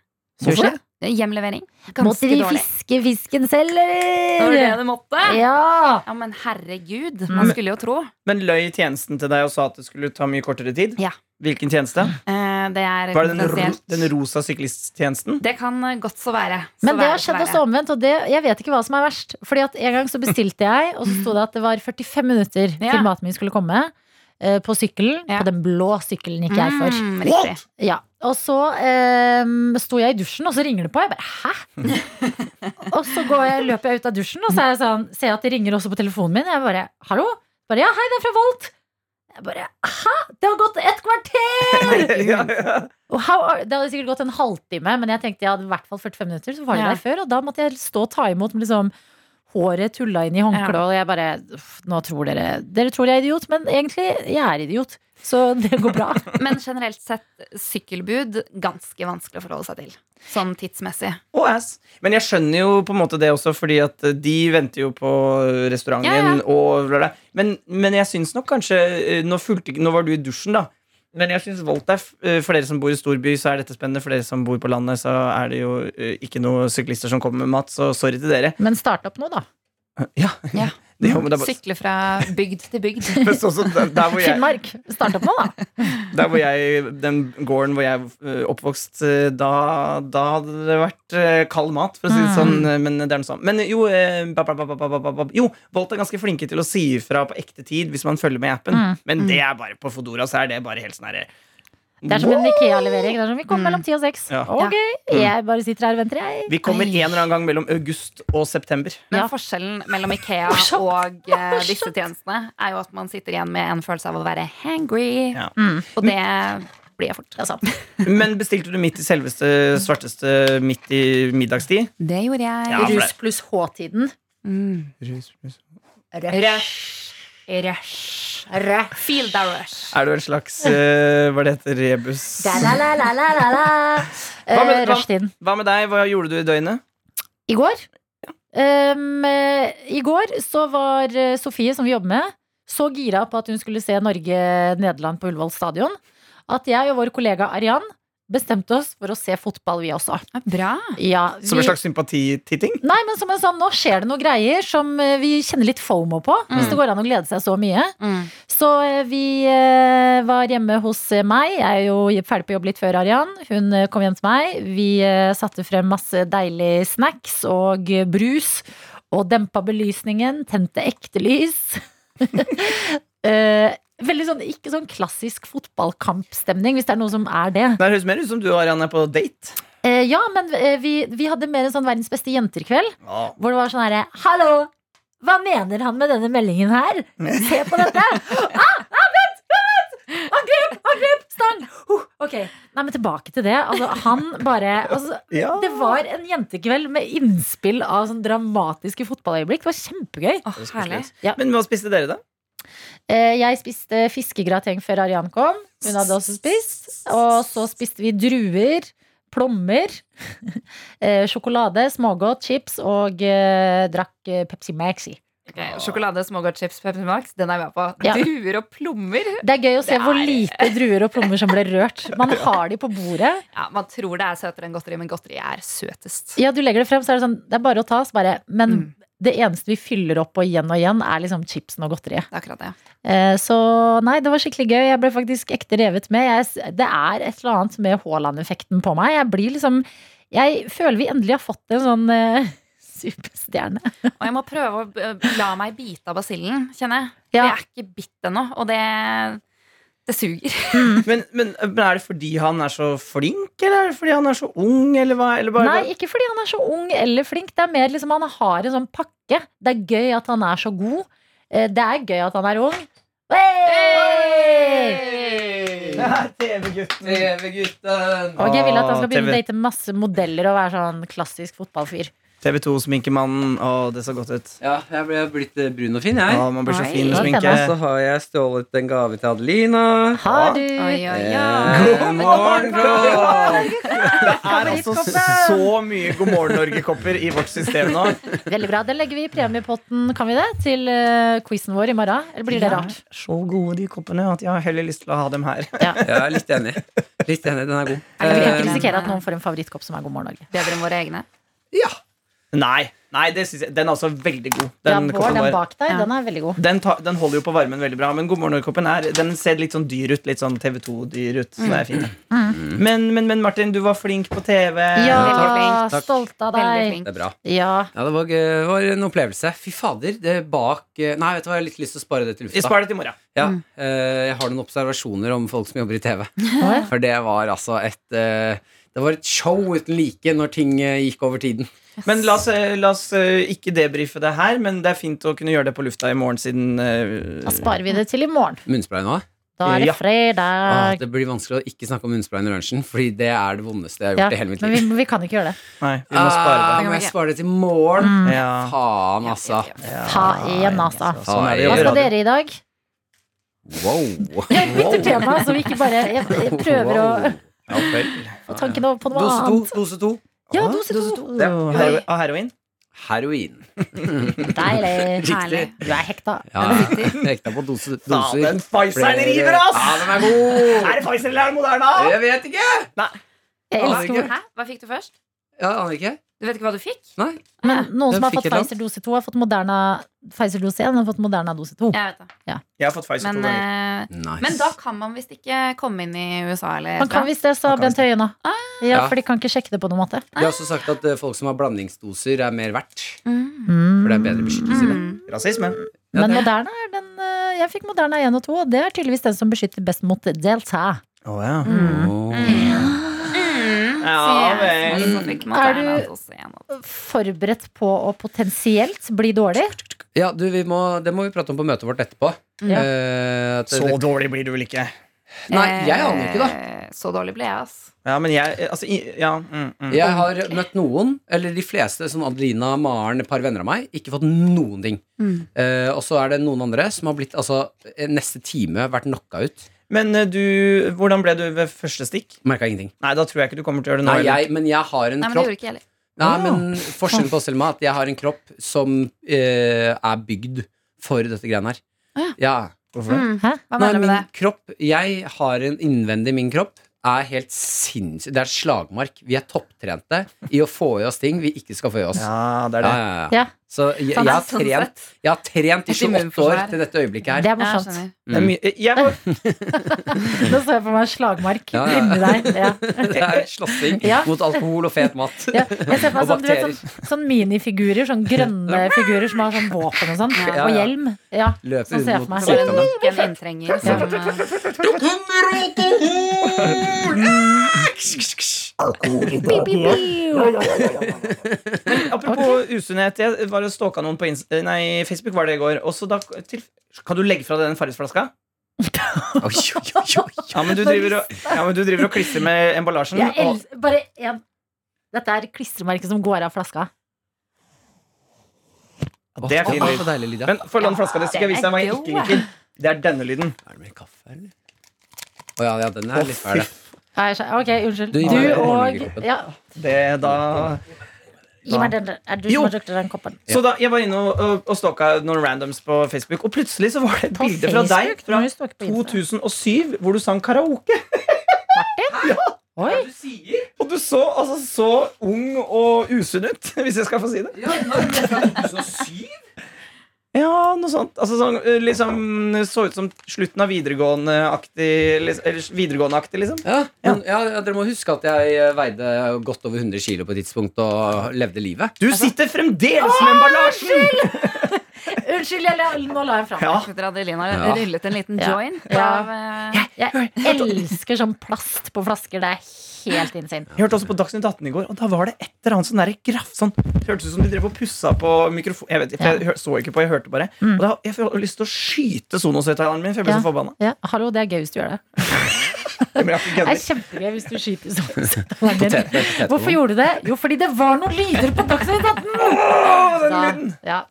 Speaker 3: Hvorfor
Speaker 8: Sushi? Hjemlevering.
Speaker 2: Måtte
Speaker 8: Ganske
Speaker 2: de
Speaker 8: dårlig.
Speaker 2: fiske fisken selv,
Speaker 8: Det var det Ah!
Speaker 2: eller?
Speaker 8: du måtte?
Speaker 2: Ja!
Speaker 8: Ja, men herregud.
Speaker 2: Mm.
Speaker 8: Man skulle jo tro.
Speaker 3: Men løy tjenesten til deg og sa at det skulle ta mye kortere tid?
Speaker 8: Ja.
Speaker 3: Hvilken tjeneste?
Speaker 8: Eh, det er
Speaker 3: Var det den, ro
Speaker 8: konfidensielt.
Speaker 3: den rosa syklisttjenesten?
Speaker 8: Det kan eh, godt så være. Så
Speaker 2: Men det
Speaker 8: være,
Speaker 2: har
Speaker 8: så
Speaker 2: skjedd
Speaker 8: være.
Speaker 2: også omvendt, og det, jeg vet ikke hva som er verst. Fordi at En gang så bestilte jeg, og så sto det at det var 45 minutter
Speaker 8: Ja.
Speaker 2: til maten min skulle komme. eh, På sykkelen.
Speaker 8: Ja.
Speaker 2: På den blå sykkelen gikk jeg for.
Speaker 8: Mm, riktig.
Speaker 2: Ja. Og så um, sto jeg i dusjen, og så ringer det på. Jeg bare hæ? og så går jeg, løper jeg ut av dusjen, og så er jeg sånn, ser jeg at det ringer også på telefonen min. Jeg bare hallo? Bare, ja, hei, det er fra Volt. Jeg bare hæ? Det har gått et kvarter!
Speaker 3: ja, ja.
Speaker 2: Og how are, det hadde sikkert gått en halvtime, men jeg tenkte jeg hadde i hvert fall 45 minutter. Så var de
Speaker 8: Ja.
Speaker 2: der før, og da måtte jeg stå og ta imot med liksom håret tulla inn i håndkleet. Og jeg bare uff, Nå tror dere Dere tror jeg er idiot, men egentlig jeg er idiot. Så det går bra.
Speaker 8: Men generelt sett, sykkelbud ganske vanskelig å forholde seg til. Sånn tidsmessig.
Speaker 3: Og ass. Men jeg skjønner jo på en måte det også, fordi at eh, de venter jo på eh, restauranten
Speaker 8: Ja, ja.
Speaker 3: din. Og bla, bla. Men, men jeg syns nok kanskje eh, nå, fulgte, ikke- nå var du i dusjen, da. Men jeg syns Volt er f- eh, For dere som bor i storby, så er dette spennende. For dere som bor på landet, så er det jo eh, ikke noen syklister som kommer med mat. Så sorry til dere.
Speaker 2: Men start opp nå, da.
Speaker 3: Ja,
Speaker 8: Ja.
Speaker 3: Det, jo, men det er bare,
Speaker 8: Sykle fra bygd til bygd.
Speaker 3: Men sånn som der, der hvor jeg,
Speaker 2: Finnmark, start opp nå, da.
Speaker 3: der hvor jeg Den gården hvor jeg er oppvokst, eh, da, da hadde det vært eh, kald mat, for å si det sånn.
Speaker 2: Mm.
Speaker 3: eh, Men det er noe sånt. Men jo, eh, ba, ba, ba, ba, ba, ba, ba. jo, Volt er ganske flinke til å si ifra på ekte tid hvis man følger med i appen.
Speaker 2: Mm.
Speaker 3: Men det er bare på Fodora, så er det bare helt sånn herre
Speaker 2: Det er som en Ikea-levering. Det er som Vi kommer mellom ti og seks.
Speaker 3: Mm. Ja.
Speaker 2: Ok, jeg bare sitter her og venter, jeg.
Speaker 3: Vi kommer en eller annen gang mellom august og september.
Speaker 2: Ja.
Speaker 8: Men forskjellen mellom Ikea og eh, disse tjenestene er jo at man sitter igjen med en følelse av å være hangry,
Speaker 3: Ja.
Speaker 8: og det blir jeg fort.
Speaker 2: Mm.
Speaker 3: Men bestilte du midt i selveste svarteste midt i middagstid?
Speaker 8: Det gjorde jeg.
Speaker 3: Ja, for det-
Speaker 2: Rus pluss H-tiden.
Speaker 8: Mm. Rush. Rush. rush. Feel the rush.
Speaker 3: Er du en slags eh, Hva det heter rebus?
Speaker 2: Da-la-la-la-la-la.
Speaker 3: Hva med-
Speaker 2: Eh,
Speaker 3: hva-
Speaker 2: Rushtiden.
Speaker 3: Hva med deg? Hva gjorde du i døgnet?
Speaker 2: I går Ehm, eh, I går så var eh, Sofie, som vi jobber med, så gira på at hun skulle se Norge-Nederland på Ullevål stadion, at jeg og vår kollega Arian bestemte oss for å se fotball, vi også.
Speaker 8: Ja, Bra.
Speaker 2: Ja, vi,
Speaker 3: Som en slags sympatititting?
Speaker 2: Nei, men som en sånn, nå skjer det noen greier som eh, vi kjenner litt fomo på,
Speaker 3: Mm.
Speaker 2: hvis det går an å glede seg så mye.
Speaker 8: Mm.
Speaker 2: Så eh, vi eh, var hjemme hos eh, meg. Jeg er jo ferdig på jobb litt før Arian. Hun eh, kom hjem til meg. Vi eh, satte frem masse deilig snacks og eh, brus. Og dempa belysningen. Tente ekte lys. Eh, Veldig sånn, ikke sånn klassisk fotballkampstemning, hvis det er noe som er det.
Speaker 3: Det høres mer ut som du og Arian er på date.
Speaker 2: Eh, ja, men eh, vi, vi hadde mer en sånn verdens beste jenter-kveld. Hvor det var sånn herre Hallo! Hva mener han med denne meldingen her? Se på dette! Ah, ah, vent! Vent! Angrep! Angrep! Stang! Huh, ok. Nei, men tilbake til det. Altså, han bare altså,
Speaker 9: Ja.
Speaker 2: Det var en jentekveld med innspill av sånn dramatiske fotballøyeblikk. Det var kjempegøy.
Speaker 8: Åh, herlig.
Speaker 3: Men hva spiste dere, da?
Speaker 2: Eh, Jeg spiste fiskegrateng før Arian kom. Hun hadde også spist. Og så spiste vi druer, plommer, eh, sjokolade, smågodt, chips og eh, drakk eh, Pepsi Maxi.
Speaker 8: Ok, Sjokolade, smågodtchips, Pepsi Max, den er jeg med på.
Speaker 2: Ja.
Speaker 8: Druer og plommer.
Speaker 2: Det er gøy å se
Speaker 8: Det
Speaker 2: hvor
Speaker 8: er-
Speaker 2: lite druer og plommer som ble rørt. Man har de på bordet.
Speaker 8: Ja, Man tror det er søtere enn godteri, men godteri er søtest.
Speaker 2: Ja, du legger det frem, så er det sånn Det er bare å ta, så bare Men
Speaker 8: Mm.
Speaker 2: det eneste vi fyller opp på igjen og igjen, er liksom chipsen og godteriet.
Speaker 8: Det er akkurat det.
Speaker 2: Eh, Så nei, det var skikkelig gøy. Jeg ble faktisk ekte revet med. Jeg, s- det er et eller annet med Haaland-effekten på meg. Jeg blir liksom Jeg føler vi endelig har fått en sånn eh, superstjerne.
Speaker 8: Og jeg må prøve å eh, la meg bite av basillen, kjenner jeg.
Speaker 2: Ja.
Speaker 8: Jeg er ikke bitt ennå, og det, det suger.
Speaker 2: Mm.
Speaker 3: Men, men, men er det fordi han er så flink, eller er det fordi han er så ung, eller hva? Eller bare,
Speaker 2: Nei, ikke fordi han er så ung eller flink. Det er mer liksom han har en sånn pakke. Det er gøy at han er så god. Eh, Det er gøy at han er ung. Hey!
Speaker 3: TV-gutten.
Speaker 6: TV-gutten!
Speaker 2: Og jeg vil at han skal
Speaker 3: Åh,
Speaker 2: begynne å
Speaker 3: TV.
Speaker 2: date masse modeller og være sånn klassisk fotballfyr.
Speaker 3: TV2-sminkemannen. Å, det så godt ut.
Speaker 6: Ja, jeg ble blitt eh, brun og fin, jeg.
Speaker 3: Å, man blir så
Speaker 8: Oi.
Speaker 3: fin med
Speaker 2: Ja,
Speaker 3: sminke.
Speaker 2: tenner.
Speaker 6: Så har jeg stjålet en gave til Adelina.
Speaker 2: Har du
Speaker 6: Eh, God morgen, Rolf!
Speaker 3: Det er altså så mye God morgen Norge-kopper i vårt system nå.
Speaker 2: Veldig bra. Det legger vi i premiepotten, kan vi det? Til uh, quizen vår i morgen. Eller blir det rart?
Speaker 3: Så gode de koppene at jeg har heller lyst til å ha dem her.
Speaker 6: Jeg er litt enig. Litt enig, Den er god.
Speaker 2: Vi kan ikke
Speaker 8: Eh,
Speaker 2: risikere at noen får en favorittkopp som er God morgen Norge.
Speaker 8: Bedre enn våre egne.
Speaker 3: Nei, nei det synes jeg, den er altså veldig god.
Speaker 2: Ja,
Speaker 3: Den,
Speaker 2: Bård,
Speaker 3: koppen
Speaker 2: den
Speaker 3: vår.
Speaker 2: bak deg,
Speaker 8: Ja.
Speaker 2: den er veldig god.
Speaker 3: Den, ta, den holder jo på varmen veldig bra, men God morgen Norge-koppen er- den ser litt sånn dyr ut. Litt sånn TV2-dyr ut. Så det er fint. Men, men, men Martin, du var flink på TV.
Speaker 2: Ja,
Speaker 8: Veldig
Speaker 6: flink.
Speaker 2: stolt av
Speaker 8: Veldig
Speaker 2: deg.
Speaker 8: flink.
Speaker 6: Det er bra.
Speaker 2: Ja.
Speaker 6: Ja, det var, gøy. Det var en opplevelse. Fy fader, det bak eh, Nei, vet du hva, jeg har litt lyst til å spare det til
Speaker 3: Vi
Speaker 6: lufta.
Speaker 3: sparer det til i morgen.
Speaker 6: Ja,
Speaker 2: Mm.
Speaker 6: eh, jeg har noen observasjoner om folk som jobber i TV.
Speaker 2: Oi.
Speaker 6: For det var altså et eh, Det var et show uten like når ting eh, gikk over tiden.
Speaker 3: Men la oss, eh, la oss eh, ikke debrife det her, men det er fint å kunne gjøre det på lufta i morgen siden eh,
Speaker 2: Da sparer vi det til i morgen.
Speaker 6: Munnspray nå?
Speaker 2: Da er
Speaker 3: Ja.
Speaker 2: det
Speaker 6: Ah,
Speaker 2: fredag.
Speaker 6: det blir vanskelig å ikke snakke om munnspray i lunsjen, fordi det er det vondeste jeg har
Speaker 2: Ja,
Speaker 6: gjort i hele mitt
Speaker 2: men vi,
Speaker 6: liv.
Speaker 2: vi kan ikke gjøre det.
Speaker 3: Nei, vi må spare
Speaker 6: Ah, må jeg spare det til morgen?
Speaker 3: det. Ja.
Speaker 6: Faen, altså.
Speaker 2: Ta igjen, altså.
Speaker 3: Sånn er det å
Speaker 2: Hva
Speaker 3: gjøre
Speaker 2: skal
Speaker 3: radio.
Speaker 2: dere i dag?
Speaker 6: Wow.
Speaker 2: Jeg bytter tema, så vi ikke bare jeg, jeg prøver å
Speaker 3: Ja, vel.
Speaker 2: få tankene over på noe
Speaker 6: Dose to,
Speaker 2: annet.
Speaker 6: dose to.
Speaker 2: Ja, dose to.
Speaker 3: Og hero- og heroin?
Speaker 6: Heroin.
Speaker 2: Deilig.
Speaker 8: Herlig.
Speaker 2: Du er hekta.
Speaker 6: Ja, jeg hekta på dose, doser. Ah.
Speaker 3: Faen, Pfizeren river,
Speaker 6: Ja,
Speaker 3: ass!
Speaker 6: den er god!
Speaker 3: Er det Pfizer eller er det Moderna?
Speaker 6: Jeg vet ikke!
Speaker 2: Jeg elsker hvor
Speaker 8: Hæ? Hva fikk du først?
Speaker 6: Ja, aner ikke.
Speaker 8: Du vet ikke hva du fikk?
Speaker 6: Nei.
Speaker 2: Men noen som
Speaker 6: Den
Speaker 2: har
Speaker 6: fikk
Speaker 2: fått
Speaker 6: et eller annet.
Speaker 2: Pfizer dose 2, har fått Moderna Pfizer dose 1 og fått Moderna dose 2.
Speaker 8: Jeg vet det.
Speaker 3: Jeg har fått Pfizer to
Speaker 8: Men,
Speaker 3: ganger.
Speaker 8: eh,
Speaker 6: Nice.
Speaker 8: men da kan man visst ikke komme inn i USA eller
Speaker 2: Man kan visst det, Ah. sa
Speaker 3: Man kan
Speaker 2: Bent Høie nå. Ja,
Speaker 6: Ja.
Speaker 2: for de kan ikke sjekke det på noen måte.
Speaker 6: Vi har også sagt at eh, folk som har blandingsdoser, er mer verdt.
Speaker 8: Mm.
Speaker 6: For det er bedre beskyttelse i det.
Speaker 8: Mm.
Speaker 2: eh,
Speaker 3: Rasisme.
Speaker 6: Ja,
Speaker 2: Men
Speaker 6: det-
Speaker 2: Moderna er den eh, Jeg fikk Moderna 1 og 2, og det er tydeligvis den som beskytter best mot delta.
Speaker 3: Oh, ja.
Speaker 6: Åh.
Speaker 8: Mm.
Speaker 3: Ja,
Speaker 8: Så jeg
Speaker 3: vel.
Speaker 8: som også fikk
Speaker 2: Er du-
Speaker 8: Moderna dose en og-
Speaker 2: Forberedt på å potensielt bli dårlig.
Speaker 6: Ja, du, vi må, det må vi prate om på møtet vårt etterpå.
Speaker 2: Ja.
Speaker 6: Eh, at,
Speaker 3: Så dårlig blir du vel ikke.
Speaker 6: Nei, jeg aner ikke, da.
Speaker 8: Eh, Så dårlig ble jeg, ass.
Speaker 3: Ja, men jeg Altså, i- ja. Mm, mm.
Speaker 6: Jeg har møtt noen, eller de fleste, som Adelina, Maren, et par venner av meg, ikke fått noen ting.
Speaker 8: Mm.
Speaker 6: Eh, og så er det noen andre som har blitt, altså, eh, neste time vært knocka ut.
Speaker 3: Men eh, du Hvordan ble du ved første stikk?
Speaker 6: Merka ingenting.
Speaker 3: Nei, da tror jeg ikke du kommer til å gjøre det nå.
Speaker 6: Nei,
Speaker 3: heller.
Speaker 6: jeg, men jeg har en
Speaker 8: Nei, men det
Speaker 6: kropp
Speaker 8: gjorde ikke jeg heller.
Speaker 6: Nei, men forskjellen på oss Selma, er at jeg har en kropp som eh, er bygd for dette greiene her.
Speaker 8: Å
Speaker 6: Ja.
Speaker 3: Hvorfor det?
Speaker 8: Mm.
Speaker 2: Hæ?
Speaker 6: Nei,
Speaker 8: Hva mener du
Speaker 6: min
Speaker 8: med det?
Speaker 6: kropp Jeg har en innvendig min kropp er helt sinnssyk. Det er slagmark. Vi er topptrente i å få i oss ting vi ikke skal få i oss.
Speaker 3: Ja, det er
Speaker 6: Ja,
Speaker 3: det.
Speaker 6: ja, ja.
Speaker 2: Ja.
Speaker 6: Så jeg, jeg, har
Speaker 8: Sånn
Speaker 6: trent,
Speaker 8: sett.
Speaker 6: jeg har trent i
Speaker 8: Et
Speaker 6: 28 år
Speaker 8: immunforsvar.
Speaker 6: til dette øyeblikket
Speaker 2: Det
Speaker 6: her.
Speaker 2: er
Speaker 8: Ja,
Speaker 2: morsomt.
Speaker 8: skjønner.
Speaker 3: det er mye, eh, jeg, har-
Speaker 2: Nå så jeg for meg en slagmark
Speaker 6: Ja, ja.
Speaker 2: inni deg. Ja.
Speaker 6: Det er slåssing
Speaker 2: Ja.
Speaker 6: mot alkohol og fet mat.
Speaker 2: Ja, jeg ser for meg
Speaker 6: Og
Speaker 2: sånn, du vet,
Speaker 6: bakterier.
Speaker 2: sånn, sånn minifigurer, sånn grønne figurer som har sånn våpen og sånn,
Speaker 8: Ja,
Speaker 2: og
Speaker 6: ja.
Speaker 2: hjelm. Ja.
Speaker 6: Løper
Speaker 2: Sånn ser jeg
Speaker 6: rundt
Speaker 2: for meg.
Speaker 6: mot
Speaker 8: Så var det
Speaker 6: sykdommen.
Speaker 8: nok en inntrenger som eh,
Speaker 3: Apropos usunnhet, jeg var og stalka noen på Inst nei, Facebook var det i går. Og så da til, Kan du legge fra deg den Farris-flaska?
Speaker 6: Oi, oi, oi, oi.
Speaker 3: Ja, men du driver og, ja, men du driver og klistrer med emballasjen.
Speaker 2: Jeg
Speaker 3: Og,
Speaker 2: elsker bare en Dette er klistremerket som går av flaska.
Speaker 3: det er fin
Speaker 6: Åh,
Speaker 3: lyd.
Speaker 6: Så deilig lyd, ja.
Speaker 3: Men få låne flaska di, så skal jeg vise deg hva jeg ikke liker. Det er denne lyden.
Speaker 6: Er det mer kaffe, eller? Å ja, ja, den er litt fæl. ja.
Speaker 2: Nei, skje- Ok, unnskyld.
Speaker 6: Du
Speaker 2: Du,
Speaker 6: gir meg den
Speaker 2: og
Speaker 6: morgenkoppen.
Speaker 2: ja,
Speaker 3: Det da
Speaker 2: Gi meg den. Er du
Speaker 3: Jo.
Speaker 2: som har drukket den koppen?
Speaker 3: Så da, jeg var inne og, og, og stalka noen randoms på Facebook, og plutselig så var det et
Speaker 2: På
Speaker 3: bilde fra deg
Speaker 2: Facebook?
Speaker 3: fra
Speaker 2: Nå er du stalker på Insta.
Speaker 3: 2007 hvor du sang karaoke.
Speaker 2: Oi!
Speaker 3: Og du så altså så ung og usunn ut, hvis jeg skal få si det. Ja, noe sånt. Altså sånn eh, liksom Så ut som slutten av videregående-aktig, liksom- eller videregående-aktig, liksom.
Speaker 6: Ja, men, ja, ja, dere må huske at jeg eh, veide godt over 100 kilo på et tidspunkt og levde livet.
Speaker 2: Altså-
Speaker 3: Du sitter fremdeles med emballasjen!
Speaker 2: Unnskyld, jeg la- nå la jeg fra meg.
Speaker 3: Ja.
Speaker 8: Etter at Adelina
Speaker 6: Ja.
Speaker 8: rullet en liten
Speaker 2: Ja.
Speaker 8: joint
Speaker 2: Ja.
Speaker 8: av eh,
Speaker 2: Jeg elsker sånn plast på flasker. Det er helt insane.
Speaker 3: Jeg hørte også på Dagsnytt 18 i går, og da var det et eller annet sånn der graff sånn, Det hørtes ut som de drev og pussa på mikrofon Jeg vet ikke, for jeg hør- så ikke på, jeg hørte bare. Og da, jeg får lyst til å skyte Sonos-høyttaleren min, for jeg ble
Speaker 2: Ja.
Speaker 3: så forbanna.
Speaker 2: Ja, hallo, det er gøy hvis du gjør det.
Speaker 3: Men jeg
Speaker 2: Det er
Speaker 3: kødder.
Speaker 2: kjempegøy hvis du skyter sånn.
Speaker 6: Potet- potetgull.
Speaker 2: Hvorfor gjorde du det? Jo, fordi det var noen lyder på Dagsnytt 18! Da- Ja.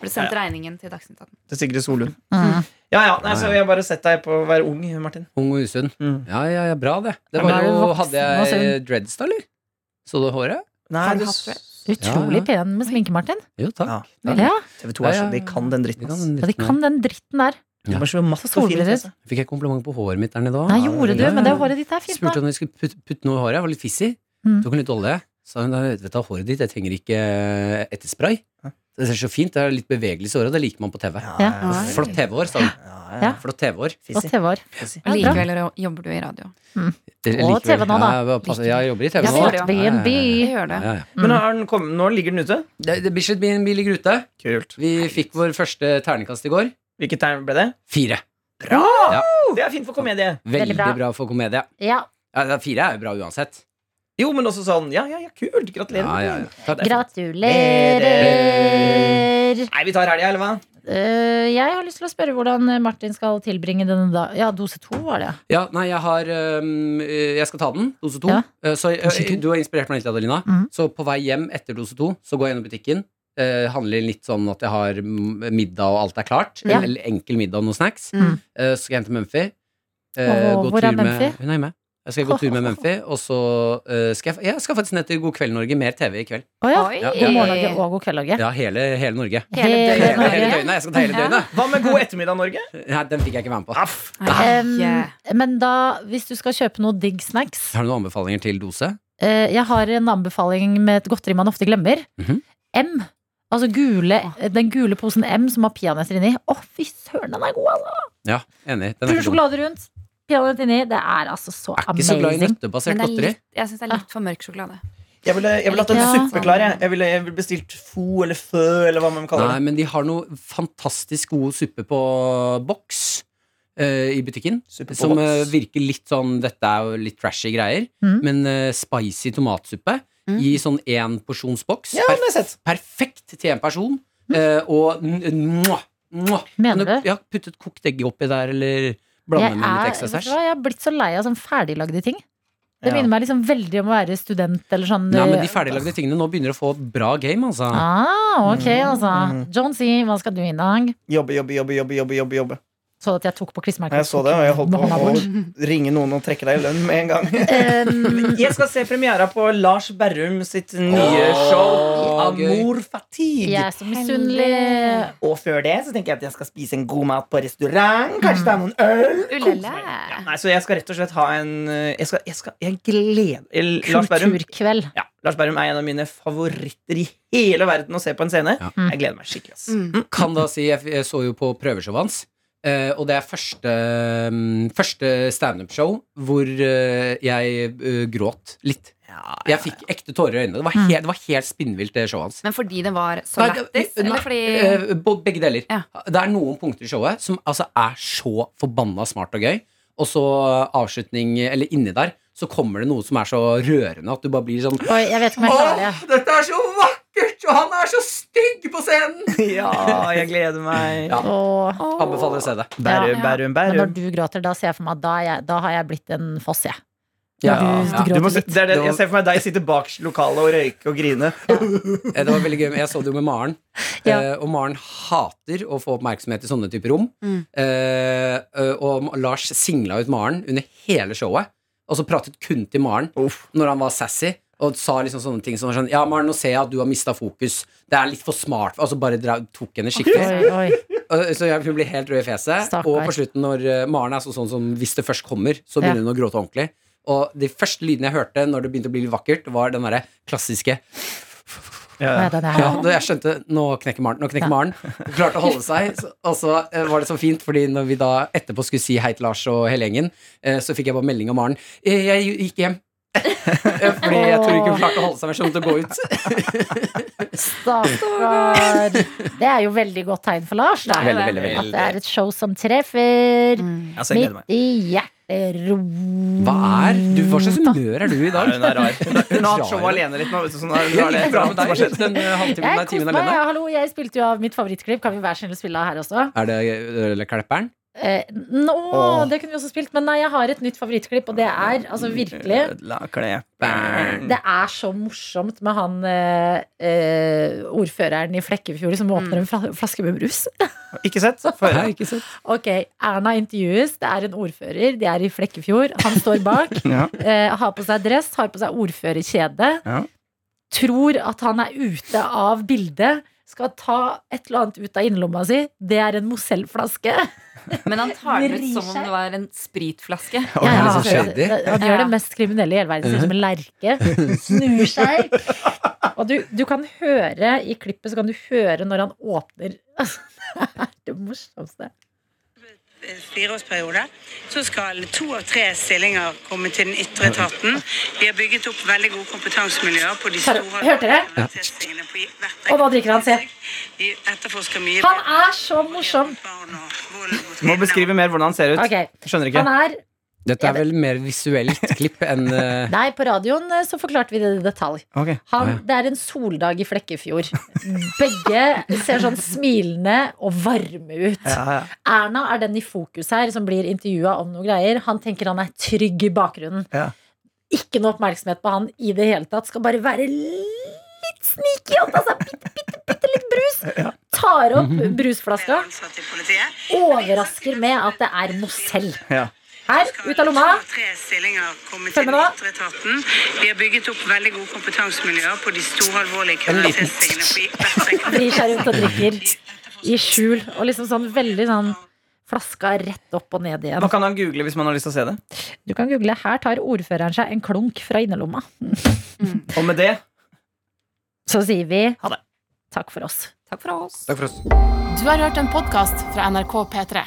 Speaker 8: Ble sendt regningen til Dagsnytt 18.
Speaker 3: Til Sigrid Solund.
Speaker 2: Mm.
Speaker 3: Ja, ja, nei, så jeg har bare sett deg på å være ung, Martin.
Speaker 6: Ung og usunn.
Speaker 3: Mm.
Speaker 6: Ja, ja, ja, bra det. Det
Speaker 2: Ja, men
Speaker 6: var
Speaker 2: er du
Speaker 6: jo
Speaker 2: voksen
Speaker 6: Hadde
Speaker 2: og sunn?
Speaker 6: jeg eh, dreads da, eller? Så du håret?
Speaker 3: Nei,
Speaker 8: Har du
Speaker 3: du
Speaker 8: hatt det?
Speaker 3: s-
Speaker 2: Utrolig pen med sminke, Martin.
Speaker 6: Jo, takk.
Speaker 3: Ja.
Speaker 2: Ja,
Speaker 3: TV2 er
Speaker 6: Ja,
Speaker 3: så,
Speaker 6: ja.
Speaker 3: de kan den dritten.
Speaker 6: Vi
Speaker 3: ass.
Speaker 6: kan-
Speaker 2: ja de kan den dritten der.
Speaker 3: De er så matt
Speaker 2: Så
Speaker 3: og fin.
Speaker 2: solbriller.
Speaker 3: altså.
Speaker 6: Fikk jeg kompliment på håret mitt der nede òg?
Speaker 2: Nei, gjorde du, men det håret ditt er fint.
Speaker 6: Spurte
Speaker 2: da.
Speaker 6: om vi skulle putte, putte noe i håret. Jeg var litt fissig.
Speaker 2: Mm.
Speaker 6: Tok en litt olje. Sa hun da, vet du, håret ditt, jeg trenger ikke eh, etterspray.
Speaker 3: Hæ?
Speaker 6: Det ser så fint, det er litt bevegelse i håret, og det liker man på TV.
Speaker 2: Ja.
Speaker 3: ja, ja.
Speaker 6: Flott TV-hår, sa hun.
Speaker 3: Ja,
Speaker 2: Ja.
Speaker 3: ja.
Speaker 6: Flott TV-hår.
Speaker 2: Og TV-år.
Speaker 3: Fissig.
Speaker 2: Ja, bra.
Speaker 8: Likevel ro- jobber du i radio.
Speaker 6: Likevel.
Speaker 2: TV nå, da.
Speaker 6: Ja, jeg bare passer- ja, jeg jobber i TV
Speaker 2: Ja,
Speaker 6: nå.
Speaker 8: ser det jo.
Speaker 6: Ja,
Speaker 2: B&B.
Speaker 6: ja,
Speaker 8: Jeg gjør det.
Speaker 6: ja, ja, ja.
Speaker 3: Men har den kommet, nå ligger den ute.
Speaker 6: Det, det Bislett blir en bil i grute.
Speaker 3: Kult.
Speaker 6: Vi fikk vår første terningkast i går.
Speaker 3: Hvilket tegn ble det?
Speaker 6: Fire.
Speaker 3: Det er fint for komedie.
Speaker 2: Veldig
Speaker 6: Veldig
Speaker 2: bra.
Speaker 6: bra. for komedie.
Speaker 2: Ja,
Speaker 6: Ja, det er- fire er jo bra uansett.
Speaker 3: Jo, men også sånn Ja, ja, ja, kult. Gratulerer.
Speaker 6: Ja, ja, ja.
Speaker 3: Det er fint.
Speaker 2: gratulerer!
Speaker 3: Nei, vi tar helga, eller hva?
Speaker 2: Eh, jeg har lyst til å spørre hvordan Martin skal tilbringe denne dag Ja, dose to var det.
Speaker 6: Ja, nei, jeg har øhm, øh, Jeg skal ta den, dose to.
Speaker 2: Ja.
Speaker 6: Eh, Så øh,
Speaker 2: Dose to.
Speaker 6: du har inspirert meg litt, Adelina.
Speaker 2: Mhm.
Speaker 6: Så på vei hjem etter dose to, så går jeg gjennom butikken. eh, handler litt sånn at jeg har mm, middag og alt er klart.
Speaker 2: Ja. Mhm.
Speaker 6: Eller enkel middag og noen snacks.
Speaker 8: Mm.
Speaker 6: Eh, så skal jeg hjem til Mumphy. Eh,
Speaker 2: Åh, hvor er Mumphy?
Speaker 6: Med, hun er hjemme. Jeg skal gå tur med Mumphy, og så eh, skal jeg, fa- jeg skal faktisk ned til God kveld Norge. Mer TV i kveld.
Speaker 2: Å ja.
Speaker 8: Oi.
Speaker 6: Ja,
Speaker 2: God morgen Norge og god kveld, Norge.
Speaker 6: Ja, hele, hele Norge.
Speaker 8: Hele døgnet.
Speaker 6: Hele, hele døgnet. Jeg skal ta hele
Speaker 8: Ja.
Speaker 6: døgnet.
Speaker 3: Hva med God ettermiddag, Norge?
Speaker 6: Nei, den fikk jeg ikke være med på.
Speaker 3: Aff.
Speaker 2: Em,
Speaker 8: Yeah.
Speaker 2: men da, hvis du skal kjøpe noe digg snacks
Speaker 6: Har du noen anbefalinger til dose?
Speaker 2: eh, Jeg har en anbefaling med et godteri man ofte glemmer.
Speaker 6: Mhm.
Speaker 2: M. Altså gule, den gule posen M som har peanøtter inni. Å, fy søren, den er god! Altså.
Speaker 6: Ja, enig. Den
Speaker 2: Brun
Speaker 6: er ikke dum.
Speaker 2: sjokolade rundt, peanøtt inni. Det er altså så
Speaker 6: Er ikke så glad i
Speaker 2: amazing.
Speaker 6: nøttebasert
Speaker 8: Men det er
Speaker 6: godteri.
Speaker 8: litt, jeg syns det er litt for mørk sjokolade.
Speaker 3: Jeg ville, jeg ville hatt en
Speaker 2: Ja.
Speaker 3: suppe klar. Jeg, jeg ville, jeg ville bestilt fo eller fø eller hva man kaller
Speaker 6: Nei,
Speaker 3: det.
Speaker 6: men de har noe fantastisk god suppe på boks eh, i butikken.
Speaker 3: Suppe på
Speaker 6: Som
Speaker 3: boks.
Speaker 6: eh, virker litt sånn Dette er jo litt trashy greier,
Speaker 2: Mm.
Speaker 6: men eh, spicy tomatsuppe
Speaker 8: Mm.
Speaker 6: i sånn én porsjonsboks.
Speaker 3: Ja, den har jeg sett.
Speaker 6: perfekt til en person. eh, og n- n- mwah, mwah.
Speaker 2: Mener
Speaker 6: Kan
Speaker 2: du?
Speaker 6: Ja, puttet kokt egg oppi der, eller blande
Speaker 2: Jeg
Speaker 6: med litt
Speaker 2: er-
Speaker 6: ekstra
Speaker 2: vet du
Speaker 6: stæsj.
Speaker 2: hva, Jeg har blitt så lei av sånn ferdiglagde ting. Det
Speaker 3: Ja.
Speaker 2: minner meg liksom veldig om å være student eller sånn.
Speaker 6: Nei, men
Speaker 2: eh,
Speaker 6: de ferdiglagde tingene nå begynner å få bra game, altså.
Speaker 2: Ah, ok, altså.
Speaker 3: Mm.
Speaker 2: John C., hva skal du i dag?
Speaker 3: Jobbe, jobbe, jobbe, jobbe. jobbe, jobbe, jobbe.
Speaker 2: Så at jeg tok på klistremerket.
Speaker 3: Jeg så det, og jeg holdt
Speaker 2: Med
Speaker 3: på
Speaker 2: hånda
Speaker 3: å
Speaker 2: bort.
Speaker 3: ringe noen og trekke deg i lønn med en gang.
Speaker 2: Um,
Speaker 3: Jeg skal se premiera på Lars Berrum sitt nye
Speaker 6: Åh,
Speaker 3: show
Speaker 6: gøy.
Speaker 3: Amor Fatigue.
Speaker 2: jeg er så misunnelig.
Speaker 3: Og før det så tenker jeg at jeg skal spise en god mat på restaurant. Kanskje ta noen øl. kose
Speaker 8: Ulala.
Speaker 3: meg. Ja, nei, så jeg skal rett og slett ha en eh, Jeg, skal, jeg, skal, jeg gleder jeg- Lars Berrum
Speaker 2: Kulturkveld.
Speaker 3: ja, Lars Berrum er en av mine favoritter i hele verden å se på en scene.
Speaker 6: Ja.
Speaker 2: Mm.
Speaker 3: Jeg gleder meg skikkelig. ass
Speaker 8: Mm.
Speaker 6: kan da si Jeg, jeg så jo på prøveshowet hans. eh, og det er første, mm, første standup-show hvor eh, jeg eh, gråt litt.
Speaker 3: Ja,
Speaker 6: Jeg fikk ekte tårer i øynene. Det var
Speaker 2: Mm.
Speaker 6: helt, det var helt spinnvilt, det showet hans.
Speaker 8: Men fordi det var så
Speaker 6: Nei,
Speaker 8: lættis?
Speaker 6: nei,
Speaker 8: Eller fordi
Speaker 6: eh, bo- begge deler.
Speaker 8: Ja.
Speaker 6: Det er noen punkter i showet som altså, er så forbanna smart og gøy. Og så avslutning, eller inni der, så kommer det noe som er så rørende at du bare blir sånn
Speaker 2: Oi, jeg vet ikke om jeg klarer det.
Speaker 6: dette er så vakkert! vakkert, og han er så stygg på scenen!
Speaker 3: Ja, jeg gleder meg.
Speaker 6: Ja.
Speaker 2: Og
Speaker 6: Anbefaler å se det.
Speaker 3: Bærum, Bærum,
Speaker 2: men når
Speaker 3: Bærum.
Speaker 2: du gråter, da ser jeg for meg at da, er jeg, da har jeg blitt en foss, jeg.
Speaker 6: Ja.
Speaker 2: Du, du
Speaker 6: Ja.
Speaker 3: Du
Speaker 2: gråter
Speaker 3: må, se-
Speaker 2: litt.
Speaker 3: det er det, jeg ser for meg deg sitte bak lokalet og røyke og grine.
Speaker 6: Eh, Det var veldig gøy, men Jeg så det jo med Maren.
Speaker 2: Ja.
Speaker 6: Eh, og Maren hater å få oppmerksomhet i sånne typer rom.
Speaker 8: Mm.
Speaker 6: Eh, eh, og Lars singla ut Maren under hele showet. Og så pratet kun til Maren når han var sassy. Og sa liksom sånne ting som var sånn Ja, Maren, nå ser jeg at du har mista fokus. Det er litt for smart. Altså bare dra, tok henne
Speaker 2: Oi,
Speaker 6: skikkelig.
Speaker 2: oi.
Speaker 6: Og- Så jeg, hun blir helt rød i fjeset.
Speaker 2: Stakkar.
Speaker 6: Og på slutten, når eh, Maren er så, sånn som hvis det først kommer, så
Speaker 2: Ja.
Speaker 6: begynner hun å gråte ordentlig. Og de første lydene jeg hørte når det begynte å bli litt vakkert, var den derre klassiske
Speaker 2: Nei, den er-
Speaker 6: ja, da jeg skjønte Nå knekker Maren. Nå knekker Maren. Hun klarte å holde seg. så- Og så eh, var det så fint, fordi når vi da etterpå skulle si hei til Lars og hele gjengen, eh, så fikk jeg bare melding av Maren. «Eh, Jeg gikk hjem. Eh, Fordi jeg tror ikke hun klarte å holde seg mer sånn til å gå ut.
Speaker 2: Stakkar. Det er jo veldig godt tegn for Lars. Da.
Speaker 8: Veldig, veldig,
Speaker 2: At det er et show som treffer
Speaker 3: Altså, jeg gleder meg.
Speaker 2: midt i hjerterota.
Speaker 6: Hva er du, Hva slags humør er du i
Speaker 3: Ja,
Speaker 6: dag?
Speaker 3: hun er rar. Hun har- Hun har hatt showet
Speaker 6: Rar.
Speaker 3: alene litt nå. Vet du, så nå er hun-
Speaker 6: Det
Speaker 3: nå er det
Speaker 6: gikk
Speaker 3: et eller
Speaker 6: bra med
Speaker 3: annet som har
Speaker 6: deg
Speaker 3: skjedd.
Speaker 6: den eh, halvtimen
Speaker 2: Jeg
Speaker 6: den timen
Speaker 2: koste meg.
Speaker 6: alene.
Speaker 2: ja, Hallo, jeg spilte jo av mitt favorittklipp. Kan vi være snill å spille av her også?
Speaker 6: Er det eh, eller Klepperen?
Speaker 2: Eh, nå,
Speaker 3: Åh.
Speaker 2: Det kunne vi også spilt, men nei, jeg har et nytt favorittklipp, og det er altså virkelig
Speaker 3: Ødela klepperen.
Speaker 2: det er så morsomt med han eh, eh, ordføreren i Flekkefjord som åpner en fla- flaske med brus.
Speaker 3: Ikke sett? Få høre.
Speaker 6: ikke sant?
Speaker 2: Ok, Erna intervjues, det er en ordfører, de er i Flekkefjord, han står bak,
Speaker 3: Ja.
Speaker 2: eh, har på seg dress, har på seg ordførerkjede,
Speaker 3: Ja.
Speaker 2: tror at han er ute av bildet, skal ta et eller annet ut av innlomma si, det er en Mozell-flaske.
Speaker 8: Men han tar den ut
Speaker 2: Vrir
Speaker 8: som om
Speaker 2: seg.
Speaker 8: det var en spritflaske.
Speaker 6: Oi, det er
Speaker 2: Ja,
Speaker 6: så shady.
Speaker 2: Han gjør det mest kriminelle i hele verden, ser ut som en lerke, snur seg. Og du, du kan høre, i klippet så kan du høre når han åpner, altså, det er det morsomste.
Speaker 9: fireårsperiode, så skal to av tre stillinger komme til den ytre etaten. Vi har bygget opp veldig gode kompetansemiljøer på de
Speaker 2: Ser
Speaker 9: store
Speaker 2: du- hørte dere?
Speaker 9: universitetsstillingene på hvert
Speaker 2: Og nå drikker han, se.
Speaker 9: Vi etterforsker mye
Speaker 2: Han er så morsom!
Speaker 9: barn og vold mot
Speaker 3: Du må
Speaker 9: kvinner.
Speaker 3: beskrive mer hvordan han ser ut.
Speaker 2: Ok.
Speaker 3: Skjønner ikke.
Speaker 2: Han er
Speaker 6: Dette er vel mer visuelt klipp enn eh,
Speaker 2: Nei, på radioen eh, så forklarte vi det i detalj.
Speaker 3: Ok.
Speaker 2: Han, det er en soldag i Flekkefjord. Begge ser sånn smilende og varme ut.
Speaker 3: Ja, ja.
Speaker 2: Erna er den i fokus her som blir intervjua om noe greier. Han tenker han er trygg i bakgrunnen.
Speaker 3: Ja.
Speaker 2: Ikke noe oppmerksomhet på han i det hele tatt. Skal bare være litt sneaky og ta seg bitte, bitte, bitte litt brus. Tar opp brusflaska.
Speaker 9: Ansatte i politiet.
Speaker 2: Overrasker med at det er Mozell.
Speaker 3: Ja.
Speaker 2: Her,
Speaker 9: Skal
Speaker 2: ut av lomma.
Speaker 9: to av tre stillinger komme
Speaker 2: Følg
Speaker 9: til
Speaker 2: med
Speaker 9: den
Speaker 2: nå.
Speaker 9: ytre etaten. Vi har bygget opp veldig gode kompetansemiljøer på de store alvorlige
Speaker 6: En liten-
Speaker 9: kriminalitetsstillingene på hvert
Speaker 2: vrir seg rundt og drikker i skjul. Og liksom sånn veldig sånn flaska rett opp og ned igjen.
Speaker 3: Hva kan han google hvis man har lyst til å se det?
Speaker 2: Du kan google 'Her tar ordføreren seg en klunk fra innerlomma'.
Speaker 3: Og med det
Speaker 2: Så sier vi
Speaker 3: Ha det.
Speaker 2: takk for oss.
Speaker 8: Takk for oss.
Speaker 1: Du har hørt en podkast fra NRK P3.